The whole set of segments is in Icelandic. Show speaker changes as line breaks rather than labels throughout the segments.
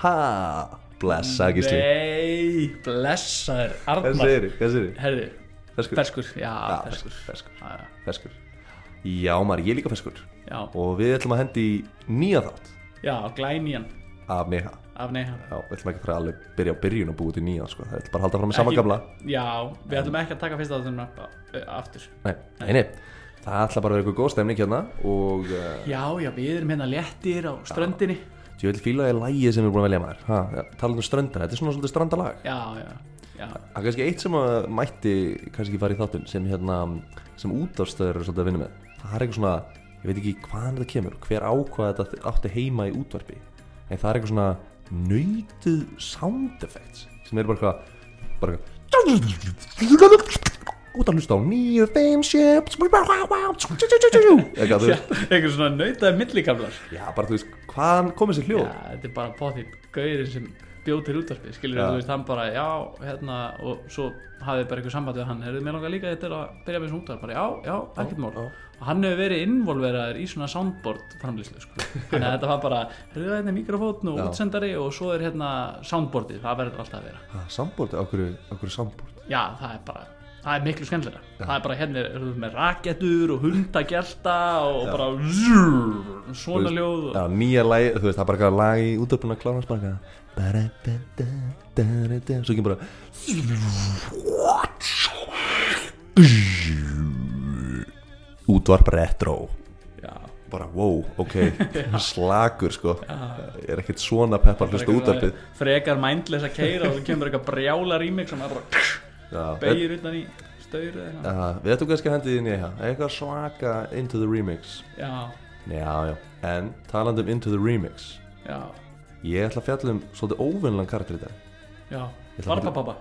ha, blessa gísli
Nei, blessaður
hvað
Arnar
segir hvað segir
Herðu,
ferskur
ferskur, já,
Já,
ferskur
ferskur,
Já, já.
ferskur. já maður, ég er líka ferskur
Já,
og við ætlum að hendi í nýja þátt
já, glænýjan
af neha
af neha
já, við ætlum ekki að fara alveg byrja á byrjun og búið til nýja sko. það ætlum bara að halda fram með sama gamla
Já, við ætlum ekki að taka fyrsta þáttunum upp ö, aftur
nei, nei, nei það ætla bara að vera eitthvað góð stemning hérna og uh,
Já, já, við erum hérna léttir á ströndinni
ég vil fíla að ég lægi sem við erum búin að velja maður ha, ja, talað um ströndar, þetta er svona svolítið strandalag
Já, já, já
Það er kannski eitt sem að mætti kannski fara í þáttun sem hérna sem útvarsstöður eru svolítið að vinna með það er eitthvað svona, ég veit ekki hvaðan þetta kemur hver ákvað þetta átti heima í útvarpi en það er eitthvað svona nöytuð sound effects sem eru bara eitthvað bara eitthvað út að hlusta á nýju, fimm, sjöps eitthvað, þú
Já,
veist
Einhver svona nautaði millikamlar
já, bara þú veist, hvaðan kom þessi
Já,
hljóð
þetta er bara bóðið gauðirinn sem bjóð til útvarpið Skilur
Já.
þú veist, hann bara, já, hérna Og svo hafið bara eitthvað samband við hann Eruðu mér langar líka til að byrja með þessu útvarp Bara, já, já, ekkert mál
já.
Og hann hefur verið involveraður í svona soundboard framlýslu sko. Þannig að þetta var bara, heyrðu þetta er mikrofótn og
Já.
útsendari Og svo er hérna soundboardið, það verður alltaf að vera
Ah, sambúrt, okkur, okkur sambúrt
Já, það er bara Það er miklu skemmtilega Það er bara hérna er- erum við með rakettur og hundagjelta og bara zzzz, svona ljóð og,
Já, nýja lagi, þú veist, það er bara eitthvað lag í útöpunum að klára hans bara eitthvað Ba-ra-ba-da-da-da-da. Svo kemur bara Útvarp retro
Já,
Bara wow, ok, slagur sko Ég er ekkert svona peppar hlusta útvarpið
Frekar mindless að keira og svo kemur eitthvað brjála rýmik sem er bara
Já, við-
beigir utan í staur eða eitthvað
já, Við ættum kannski að hendi því nýja Eitthvað svaka Into the Remix
Já,
Já, já, en talandi um Into the Remix
já,
Ég ætla að fjalla um svolítið óvinnilegan karakter í dag
já
Ég ætla að-
Varpapappa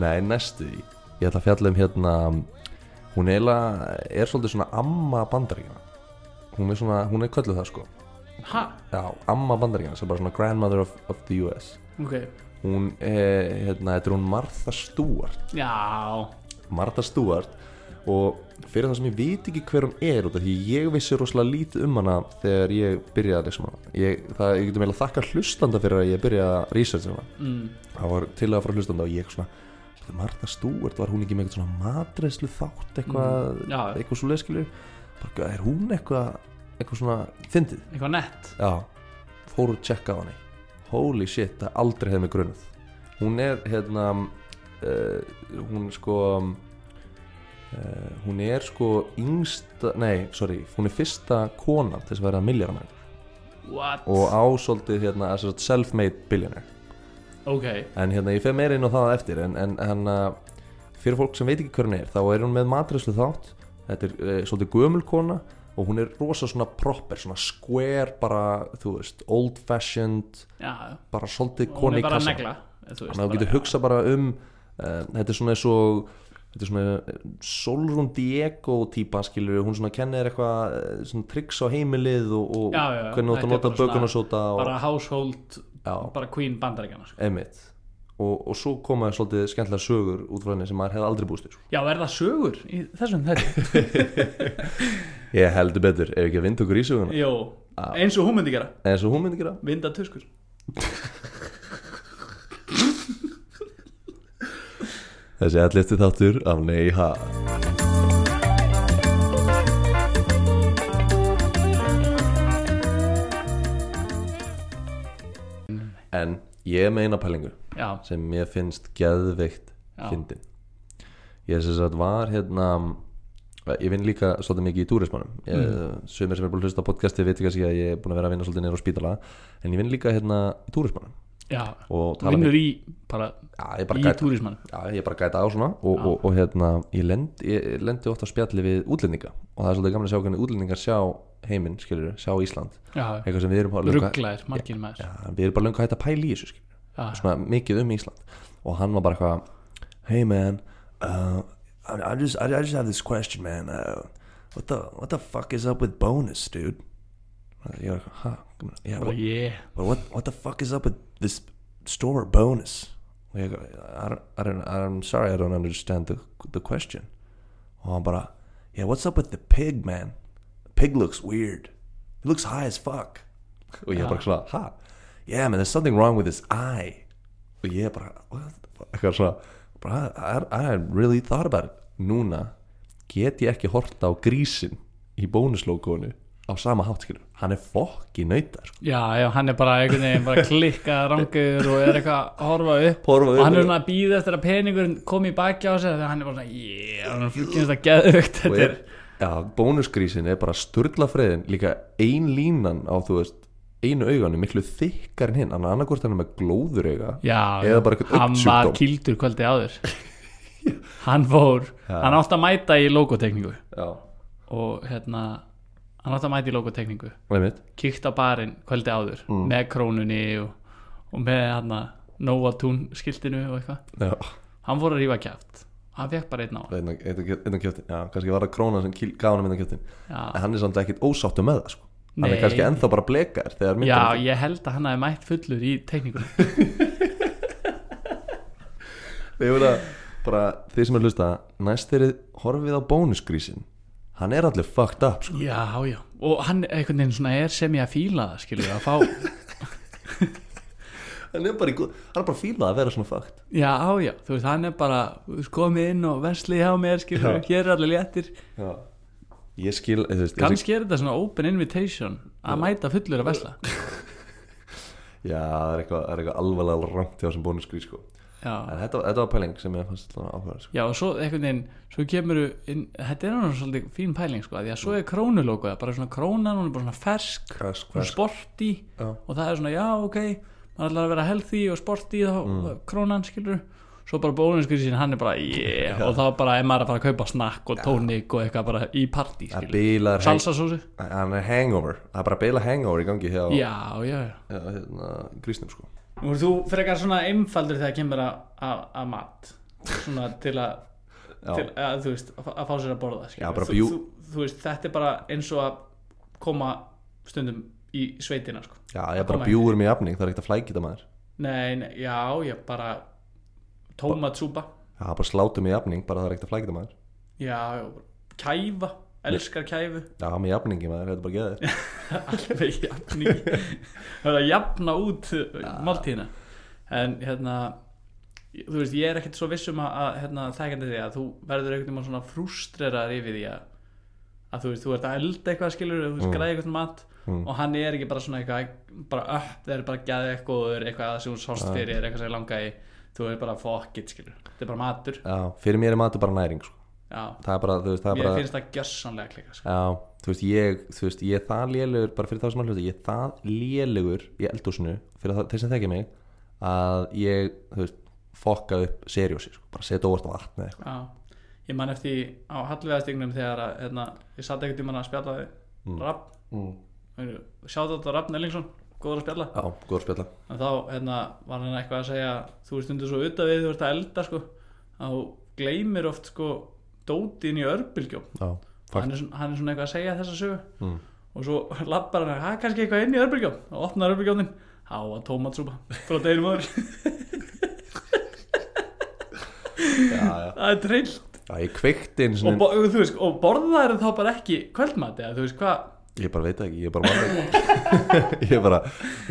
Nei, næstu því Ég ætla að fjalla um hérna Hún eiginlega er svolítið svona amma bandaríkjana Hún er svona, hún er kölluð það sko
Ha,
Já, amma bandaríkjana sem er bara svona grandmother of, of the US
ok
Hún er, hérna, þetta er hún Martha Stewart
Já,
Martha Stewart Og fyrir það sem ég veit ekki hver hún er út af Því ég vissi rosalega lítið um hana Þegar ég byrjaði að lesa um hana ég, það, ég getum eiginlega að þakka hlustanda fyrir að ég byrjaði að researcha hana
mm,
það var til að fara hlustanda og ég svona "Bíddu, Martha Stewart, var hún ekki með eitthvað svona matreislu þátt eitthvað
Mm, já.
eitthvað svo leiðskilju bara, er hún eitthvað, eitthvað svona fyndið
eitthvað nett
já, fóru að checka á henni holy shit, það aldrei hefði mig grunnað hún er hérna uh, hún er sko um, uh, hún er sko yngsta, nei, sorry hún er fyrsta konan til þess að vera miljardamenn
What,
og á svolítið hérna, sem sagt, self-made billionaire
ok
En hérna, ég fer meira inn á það á eftir En, en, en uh, fyrir fólk sem veit ekki hver hún er Þá er hún með matræslu þátt Þetta er uh, svolítið gömul kona Og hún er rosa svona proper, svona square Bara, þú veist, old fashioned
Já,
Bara svolítið
hún
koni
er
í
bara að
kassa
negla eða þú veist,
Þannig að þú
bara-
getur hugsað bara um uh, Þetta er svona eins og Þetta er svona Solrún Diego típa skilur Hún svona kennir eitthvað eh, svona tricks á heimilið Og, og
Já, já, já.
hvernig átt að
Þetta er
nota
bara svona-
bökunasóta og,
Bara household,
Já.
bara queen bandaríkjana sko.
einmitt og, og svo koma þér svolítið skemmtilega sögur út frá henni sem maður hefði aldrei búist til sko.
Já, er það sögur í þessum þetta?
ég heldur betur ef ekki að vinda okkur í söguna
Jó, eins og hún myndi gera
eins og hún myndi gera
Vinda tuskur
þessi allisti þáttur af Nei Ha en ég er með eina pælingu
Já,
sem ég finnst geðveikt
Já.
fyndin ég sem sagt var hérna ég vinn líka svolítið mikið í túrismannum mm. sömur sem er búin að hlusta á podcasti veit kannski að ég er búin að vera að vinna svolítið niður á spítala en ég vinn líka hérna í túrismannum
já
og tala
Vinnur í, bara,
já, ég bara
í
gæta
túrismann
já, ég bara gæta á svona og, og, og hérna ég lendi, ég lendi ofta á spjalli við útlendinga og það er svolítið gaman að sjá hvernig útlendingar sjá heiminn, skilur, sjá Ísland
Já,
eitthvað sem við erum bara löngu-
rugglaðir, margir maður
já, við erum bara löngu hægt að pæla í þessu skilur
Já,
svona mikið um Ísland og hann var bara eitthvað hey man uh, I, I, just, I, I just have this question man uh, what, the, what the fuck is up with bonus dude ég var eitthvað "Ha? yeah,
og
what,
ég
but what, what the fuck is up with this store bonus og ég eitthvað I don't, I don't, I'm sorry I don't understand the, the question og hann bara yeah what's up with the pig man the pig looks weird it looks high as fuck og ég var bara svona ha yeah man there's something wrong with his eye Oh, og ég bara uh, what? eitthvað svona bara, I, I hadn't really thought about it núna get ég ekki horta á grísin í bónuslókonu á sama hátskilur hann er fokki nautar sko.
Já, já, hann er bara einhvern veginn bara klikkað rangur og er eitthvað að horfa upp
Horfa upp.
og hann er svona að býða eftir að peningurinn komi í baki á sig þegar hann er bara svona, yeah, hann er fylgjumst að geðugt
Og
þetta er,
er, ja, bónusgrísin er bara sturla freðin líka ein línan á þú veist einu auganu miklu þykkar en hinn hann er annarkvort hann er með glóður auga
já,
Eða bara einhvern
hann var
augnsjúkdóm.
kildur kvöldi áður hann fór, hann átti að mæta í logotekningu
já,
og hérna hann átti að mæta í logotekningu
og einmitt
kíkt á barinn kvöldi áður
Mm.
með krónunni og, og með hann Nóa Tún skiltinu og eitthvað
já,
hann fór að rífa kjæft hann fekk bara einn á hann
einna, einna, einna kjöftin, já, kannski var það krónan sem kýl- gaf hann minna kjöftin
já,
en hann er samt ekkit ósáttu með það sko. hann
Nei.
er kannski ennþá bara blekar þegar
já,
myndar
ég held að hann hafi mætt fullur í teknikum
ég vil að bara þið sem er hlusta næst þeirrið horfið á bónusgrísin hann er allir fucked up sko.
já, já, og hann einhvern veginn svona er sem ég að fíla það, skilur við að fá
hann er bara, í góð- hann er bara fílað að vera svona fucked
já, já, þú veist, hann er bara þú veist, komið inn og verslið hjá mér, skilur við hér er allir léttir,
já. ég skil þú veist, þessi-
kannski er þetta svona open invitation að mæta fullur að versla
Já, það er eitthvað, það er eitthvað alvarlega rangt hjá þessum bónusgrís sko.
já,
En þetta, var- þetta var pæling sem ég fannst alltaf áhverð sko.
já, og svo einhvern veginn svo kemur, inn, þetta er hann svolítið fín pæling, sko, af því að svo er krónulókuð bara svona krónan, hún er bara svona fersk
Krass,
hún er sporti
Já.
og það er svona já ok maður ætlar að vera healthy og sporti þá
Mm.
krónan skilur svo bara bónusgrísin hann er bara yeah og þá bara er maður að fara að kaupa snakk og tónik og eitthvað bara í partí
Það
skilur
bílar
salsasósu
Hann er hangover Það er bara bila hangover í gangi hjá
já já já
hjá, hérna, grísnum sko.
nú er þú frekar svona einfaldur þegar kemur að- að að mat svona til að
Já.
til að þú veist að fá- að fá sér að borða skilur.
Já, bara
þú,
bjú-
þú, þú veist þetta er bara eins og að koma stundum í sveitina sko
Já, ég
Að
bara
koma
bjúur mig jafning Það er ekkert að flækita maður
Nei, nei, já, já, bara tómatsúpa,
Já, bara slátu mig jafning Bara það er ekkert að flækita maður
já, já, kæfa, elskar kæfu,
Já, með jafningi maður Þetta er bara geðir
alveg jafn í, það er að jafna út ja. máltíðina, en hérna, þú veist, ég er ekkert svo viss um að, að hérna, þækjandi því að þú verður einhvern veginn svona frústrerar yfir því að, að þú veist, þú ert að elda eitthvað skilur, þú
Mm.
veist, græði eitthvað mat og hann er ekki bara svona eitthvað, bara upp, það er bara gæði eitthvað, eitthvað sem hún sást fyrir, eitthvað sem langa í, þú er bara fuck it skilur, þetta er bara matur.
Já, fyrir mér er matur bara næring sko.
Já,
Það er bara, þú veist, það er
mér
bara
finnst það gjössanlega klika sko.
Já, þú veist, ég, þú veist, ég er það lélugur bara fyrir þá sem að hlusta, ég er það lélugur í eldúsinu, fyrir það, þeir sem þekki mig að ég, þú veist fokka upp seriósi, sko, bara setja óvart á vatn eða eitthvað,
Já, ég man eftir því á hallvegastignum þegar að, hérna, ég satt ekkert í manna að spjalla við mm. Rapp mm. Sjáðu þetta Rapp Nellingsson, góður að spjalla
já, góður spjalla
En þá hérna, var hann eitthvað að segja þú ert undir svo utan við þú ert að elda sko, að þú gleymir oft sko, dótin í örbylgjóm
Já, fakt,
hann er, svona, hann er svona eitthvað að segja þessa sögu og svo lappar hann að kannski eitthvað inn í örbylgjóm og opnar örbylgjónin á að tómatsúpa frá deginum áður
já, já
það er trillt
Já, ég kveikti einu
og,
sinni,
bo þú veist, og borða er þá bara ekki kvöldmat eða þú veist hvað
ég bara veit það ekki, ég bara var það Ég bara,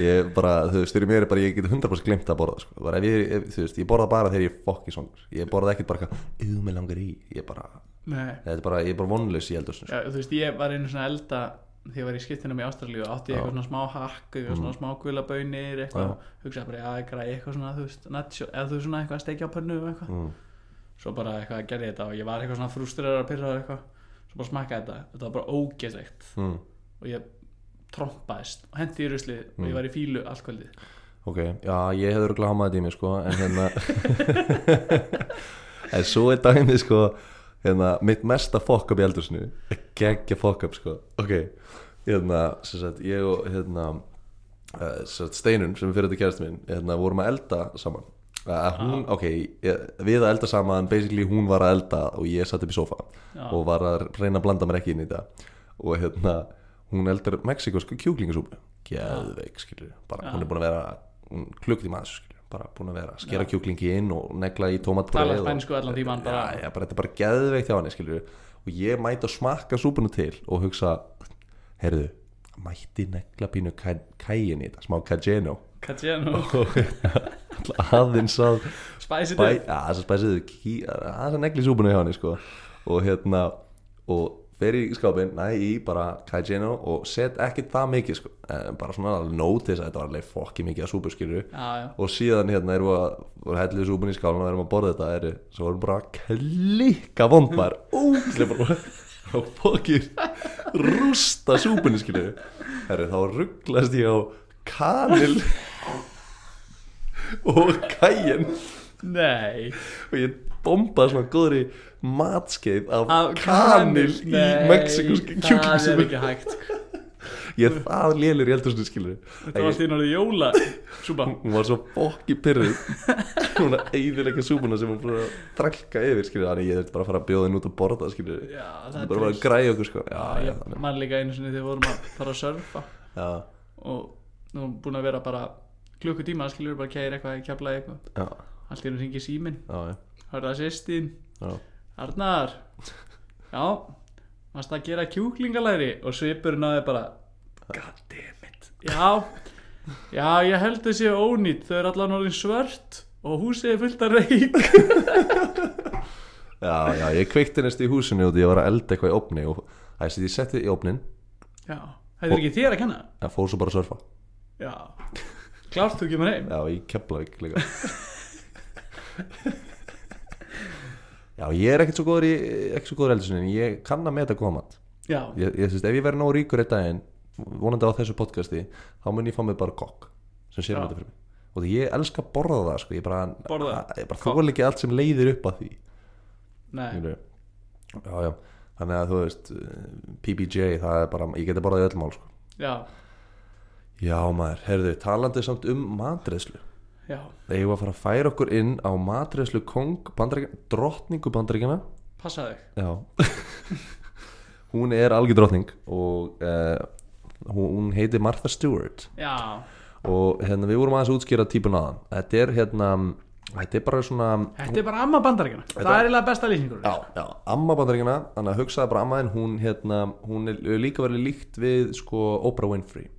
ég bara, þú veist, fyrir mér er bara, ég get 100% glimt að borða, sko, bara ef ég, ef, þú veist, ég borða bara þegar ég fokki svongur, ég borða ekkert bara eitthvað, "Ú, mig langar í." Ég bara-
Nei.
þetta er bara, ég er bara vonlaus í eldhúsinu, sko.
Já, þú veist ég var einu svona að elda þegar ég var í skiptinum í Ástralíu og átti ég eitthvað svona smá hakk eitthvað
Mm.
svona smá gulabönir eitthvað, hugsaði bara já, eitthvað, eitthvað svona þú veist, nacho, eða þú veist svona eitthvað að steikja á pönnu og eitthvað
Mm.
svo bara eitthvað gerði ég þetta og ég var eitthvað svona frústrerar að pyrra eitthvað, svo bara smakkaði þetta þetta var bara ógeðlegt
Mm.
og ég trompaðist og hendi í ruslið og
Mm.
ég var í fílu allt kvöldið
Ok, já, ég hefði örgulega hamaðið í mig sko, en hérna en svo er dæmið sko hérna, mitt mesta fokk upp í eldursinu geggja fokk upp sko ok, hérna, sem sagt, ég og hérna, uh, sem sagt, Steinun sem er fyrir þetta kærast minn, hérna, vorum að elda saman uh, hún, ok ég, við að elda saman, basically hún var að elda og ég satt upp í sofa og var að reyna að blanda mér ekki inn í þetta og hérna, hún eldar mexikosku kjúklingasúpu, geðveik skilur, bara, hún er búin að vera hún klukkt í maður, skilur, bara búin að vera að skera kjúklingi inn og negla í tomatpúrið
tala spænsku allan tíman bara
já, já, bara þetta er bara geðveikt hjá hann skilur. og ég mæti að smakka súpuna til og hugsa, heyrðu mætti negla pínu kæin í þetta smá cajeno
Caggiano,
og ætla aðeins að
Spicy
bæ,
Dip
að, að spæsið ký, aðeins að negli súpuna hjá henni sko. og hérna og fer í skápin, næ í bara kaijino og set ekki það mikið sko. en bara svona að notice að þetta var alveg fokki mikið að súpu skilur
Já, já,
og síðan hérna erum við að hellið súpun í skálan og erum að borða þetta er, svo erum bara klikka vondmar ógæslega bara og fokkir rústa súpunni skilju herri þá rugglast ég á kanil og kæin
nei
og ég bombaði svona góðri matskeið af
Af
kanil í
Nei,
mexikoski
Það er
kjúklingsum
ekki hægt sko.
ég er það lélir í eldurstu skilju
Þetta var allt í náttúrulega jóla Súpa
hún var svo fokki pyrruð hún að eiðilega súpuna sem hún bara drælka yfir skilur þannig ég þurfti bara að fara að bjóða henni út að borða skilur
Já, það
bara
er
bara að
trist.
græja okkur sko já, já,
Ég man líka einu sinni þegar við vorum að fara að surfa
já,
og nú búin að vera bara klukkutíma, skilur bara kæri eitthvað, kjaflaði eitthvað
já,
Allt í hennu ringi símin,
já, já,
hörða sýstin
já.
Arnar Já, varst að gera kjúklingalæri og svipur náði bara Goddammit Já, já, ég held þessi ónýtt, þau eru allan orðin svört og húsið er fullt að reik
já, já ég kveikti næst í húsinu og ég var að elda eitthvað í opni og það er sér ég setti í opnin
Já, þetta er ekki þér að kenna
en fór svo bara að surfa
Já, klárt þú kemur heim
já, í Keflavík líka já, ég er ekkert svo góður í ekki svo góður eldurstu en ég kann að meta góða mat
Já,
ég, ég syns, ef ég verði nógu ríkur einn daginn vonandi á þessu podcasti þá mun ég fá mig bara kokk sem sér um
Já.
þetta fyrir mig og því ég elska að borða það sko, ég bara,
Borða.
að- ég bara
Kokk. Eh.
þóla ekki allt sem leiðir upp að því
nei,
skilurðu. já, já. þannig að þú veist eh, PBJ, það er bara ég geti borðað í öll mál sko.
já,
já maður, heyrðu, talandi samt um matreðslu
já
þegar ég var að fara að færa okkur inn á matreðslu kong bandaríkjana, drottningu bandaríkjana
Passa þig
Já Hún er algjör drottning og uh, hún heitir Martha Stewart
Já,
og hérna við vorum aðeins að útskýra típun aðan Þetta er hérna Þetta er bara svona
þetta er bara amma bandarækjana Það er eiginlega besta lýsingur
Já, já, amma bandaríkina Þannig að hugsaði bara amma en hún hérna hún er líka verið líkt við sko Oprah Winfrey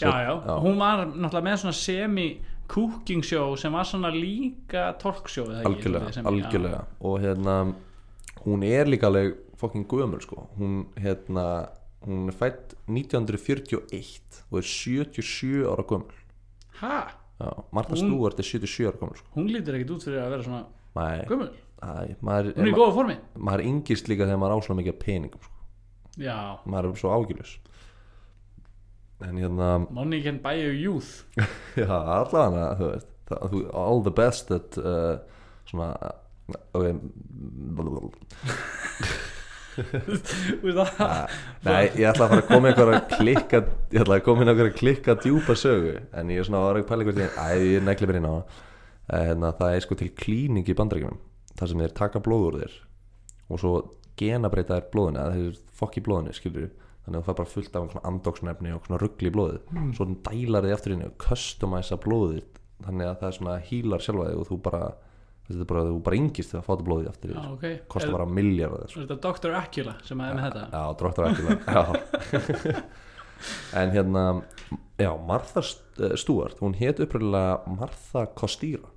já, já, hún var náttúrulega með svona semi-cooking show sem var svona líka talkshow eða ekki,
algjörlega,
svolítið sem-
algjörlega og hérna hún er líka alveg fokkin gömul sko hún hérna hún er fætt 1941 og er 77 ára gömul
Já. Ha,
já, Martha Stewart er 77 ára gömul sko.
hún lítur ekkit út fyrir að vera svona
Nei,
gömul
nei, maður,
Hún er í góða formi
maður yngist líka þegar maður ásla mikið af peningum sko.
Já,
maður er svo ágjörlis en hérna
money can buy you youth
já, allavega þú veist það, þú, all the best that uh, svona uh, ok
Þú veist það?
Nei, ég ætla að fara að koma ykkur að klikka ég ætla að koma inn okkur að klikka djúpa sögu en ég er svona ára að pæla ykkur til æ, ég negli mér inn á það en það er sko til klíning í bandaríkjum þar sem þeir taka blóð úr þér og svo genabreita þér blóðinu eða þeir fokk í blóðinu, skilur þannig að það fær bara fullt af einhvern andoksnefni og svona ruggli í blóðið, svo þannig dælar þið eftir henni og customæsa blóðið þannig að það er svona hílar sjálfa þig og þú bara, þetta er bara, þú bara yngist þegar að fá þetta blóðið eftir
Já,
þér,
ok Er,
kostar bara miljardið
er þetta Dr. Acula sem að er með þetta?
Já, dróttur Akila En hérna Já, Martha St- eh, Stewart Hún hét uppröðlega Martha Kostýra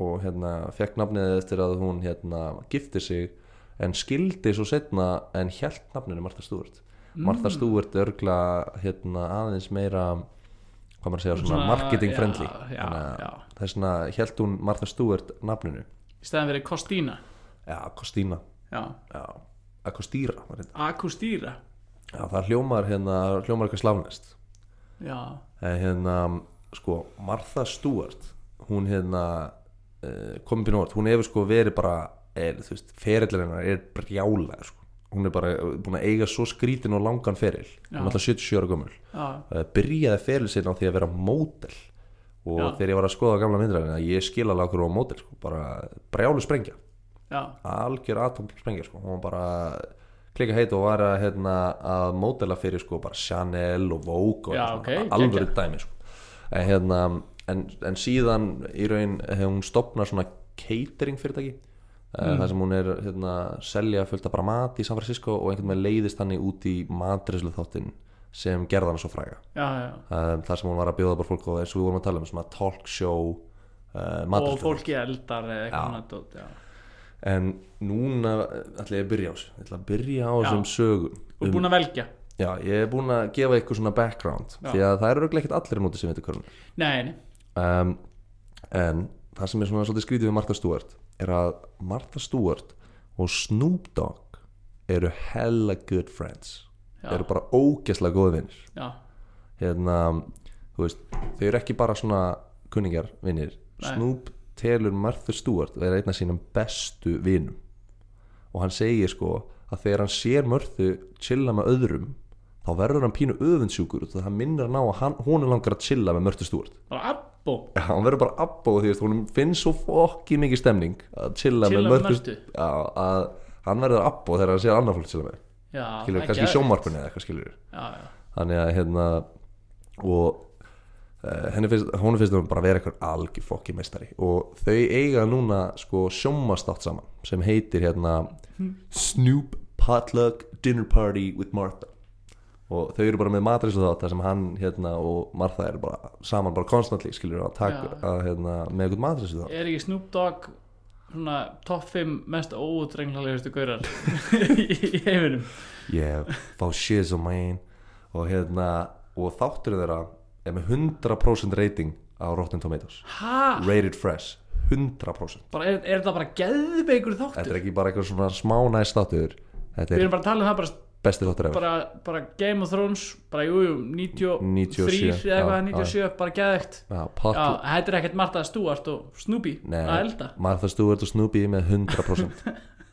og hérna fekk nafnið eftir að hún hérna gifti sig en skildi svo setna en hjælt nafninu Martha Stewart
Mm.
Martha Stewart er örgla hérna aðeins meira hvað maður að segja, svona,
Svona,
marketing
já,
friendly
já,
Þannig að
já.
þess vegna hjælt hún Martha Stewart nafninu
Í staðan verið Kostína
Já, Kostína
Já,
Já, að Kostýra var þetta
Akustýra
Já, það hljómar hérna, hljómar eitthvað sláfnest
Já,
en hérna, sko, Martha Stewart hún hérna uh, komið byrjum orð, hún hefur sko verið bara er, þú veist, ferillin hennar er brjála sko. hún er bara búin að eiga svo skrítin og langan ferill hún
Já.
er alltaf 77 ára gömul
já,
uh, byrjaði feril sinna á því að vera mótel og
Já.
þegar ég var að skoða gamla myndræðina ég skil alveg okkur á mótel sko, bara brjálu sprengja
já
algjör atom sprengja sko. hún var bara klika heit og var að, hérna, að mótela fyrir sko, bara Chanel og Vogue og
Já,
svona,
ok,
bara
geggjað.
alvöru dæmi sko. en, hérna, en, en síðan í raun hefur hún stopnað svona catering fyrirtæki mm. þar sem hún er hérna, selja fullt af bara mat í San Francisco og einhvern veginn leiðist þannig út í matrislu þáttinn sem gerði hana svo fræga
já, já.
um, þar sem hún var að bjóða bara fólk og eins og við vorum að tala um svona talk show uh,
og
matreiðslu.
fólki eldar eða
Já.
eitthvað annað dót, já.
en núna eh, ætla ég að byrja á þessu ég ætla að byrja á
Já.
þessum sögum
og um, búin að velja
já, ég er búin að gefa ykkur svona background
Já.
því að það eru örugglega ekkert allir núti sem veitir hvernig
nei, nei,
um, en það sem er svona svolítið skrítið við Martha Stewart er að Martha Stewart og Snoop Dogg eru hella good friends
Já.
eru bara ógeslega góði vinnir
já,
hérna, þú veist, þau eru ekki bara svona kunningar vinnir
Nei.
Snoop telur Martha Stewart að vera einn af sínum bestu vinum og hann segir sko að þegar hann sér Martha chilla með öðrum þá verður hann pínu öfundsjúkur og það minnir hann á að hann, hún er langar að chilla með Martha Stewart
bara abbo
Já, hann verður bara abbó því að hún finnst svo fokkið mikið stemning að chilla,
Chilla
með
með
Martha
Martha.
Já, að hann verður abbó þegar hann sér annað fólk chilla með
já,
skilur,
það er
kannski í
geðveikt.
sjónvarpunni eða eitthvað skilur
já, já,
þannig að hérna og uh, henni finnst, hún finnst hún bara vera eitthvað algjör fokki meistari og þau eiga núna sko sjómastátt saman sem heitir hérna Snoop Potluck Dinner Party with Martha og þau eru bara með matrislu þátt þar sem hann hérna og Martha eru bara saman bara konstantli skilur að taka
Já.
að, hérna, með eitthvað matrislu þátt
er ekki Snoop Dogg svona top 5 mest óútrenglalegustu gaurar í heiminum
yeah, fá shiz on mine og hérna og þáttur þeirra er með 100% rating á Rotten Tomatoes
ha,
rated fresh 100%
bara er, er það bara geðveikur
þetta
þáttur
er ekki bara eitthvað svona smá næst þáttur þetta
við
er
erum bara að tala um það bara,
besti þáttur eða
bara, bara Game of Thrones bara jújú,
97,
93 eða
já,
eitthvað, 97, bara geðveikt
já,
já,
potl
þetta er ekkert Marta Stúart og Snoopy að elda
Martha Stewart og Snoopy með 100%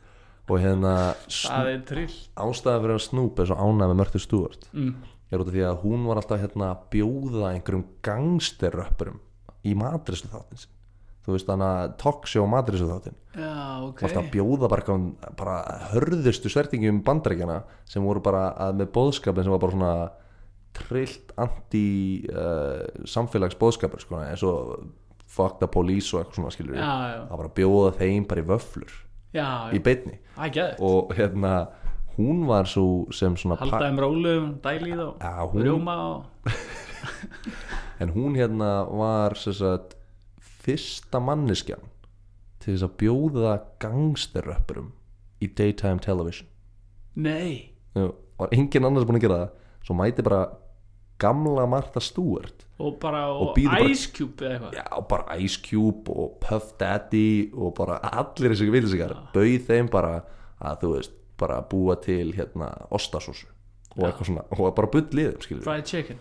og hérna
það er trill
ástæða fyrir að Snoop er svo ánæð með Martha Stewart
mm.
er út af því að hún var alltaf hérna að bjóða einhverjum gangsterröppurum í matrislu þáttin þú veist þannig að talk show matrislu þáttin
já, ok
okay. alltaf að bjóða bara, eitthvað- um, bara hörðustu svertingum bandaríkjana sem voru bara að, með bóðskapin sem var bara svona trillt anti uh, samfélags bóðskapur sko, eins og fuck the police og eitthvað svona skilur
já, já,
að bara bjóða þeim bara í vöflur
já,
í beinni
það er geðveikt
og hérna hún var svo sem svona pa-
halda um rólum, dælið og
Já, hún-
rjóma og
en hún hérna var sem sagt, fyrsta manneskjan til þess að bjóða gangsterröppurum í daytime television
nei,
Já, var engin annars búin að gera það svo mæti bara gamla Martha Stewart
og bara og
Og býður bara-
Ice Cube eða eitthvað
já, bara Ice Cube og Puff Daddy og bara allir þessi vilsingar bauð þeim bara að þú veist bara búa til hérna ostasósu og eitthvað svona og bara bull liðum skilur
fried chicken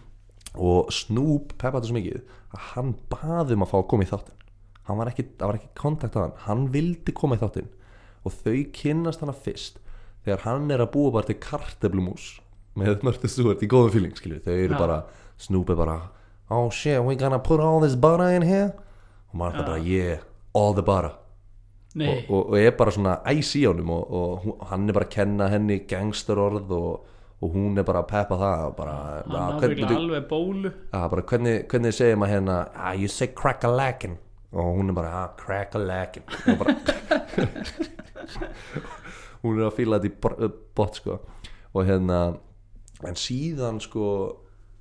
og Snoop peppaði svo mikið að hann baði um að fá að koma í þáttinn hann var ekki, það var ekki kontakt að hann hann vildi koma í þáttinn og þau kynnast hana fyrst þegar hann er að búa bara til karteblumús með Mörtu Stewart í góðum fíling skilju, þau eru
Já.
bara, Snoop er bara oh shit, we gonna put all this butter in here og maður er bara, yeah, all the butter
nei,
og, og, og er bara svona æs í honum og, og hún- hann er bara að kenna henni gangsterorð og, og hún er bara að peppa það og bara, "Ah, bara,
hann
hvern-
ábyggla
byrju,
alveg bólu
Já, bara hvernig, hvernig segir maður hérna ah, you say crack-a-lackin og hún er bara ah, crack-a-lackin og bara hún er að fíla þetta í bor- bot sko og hérna en síðan sko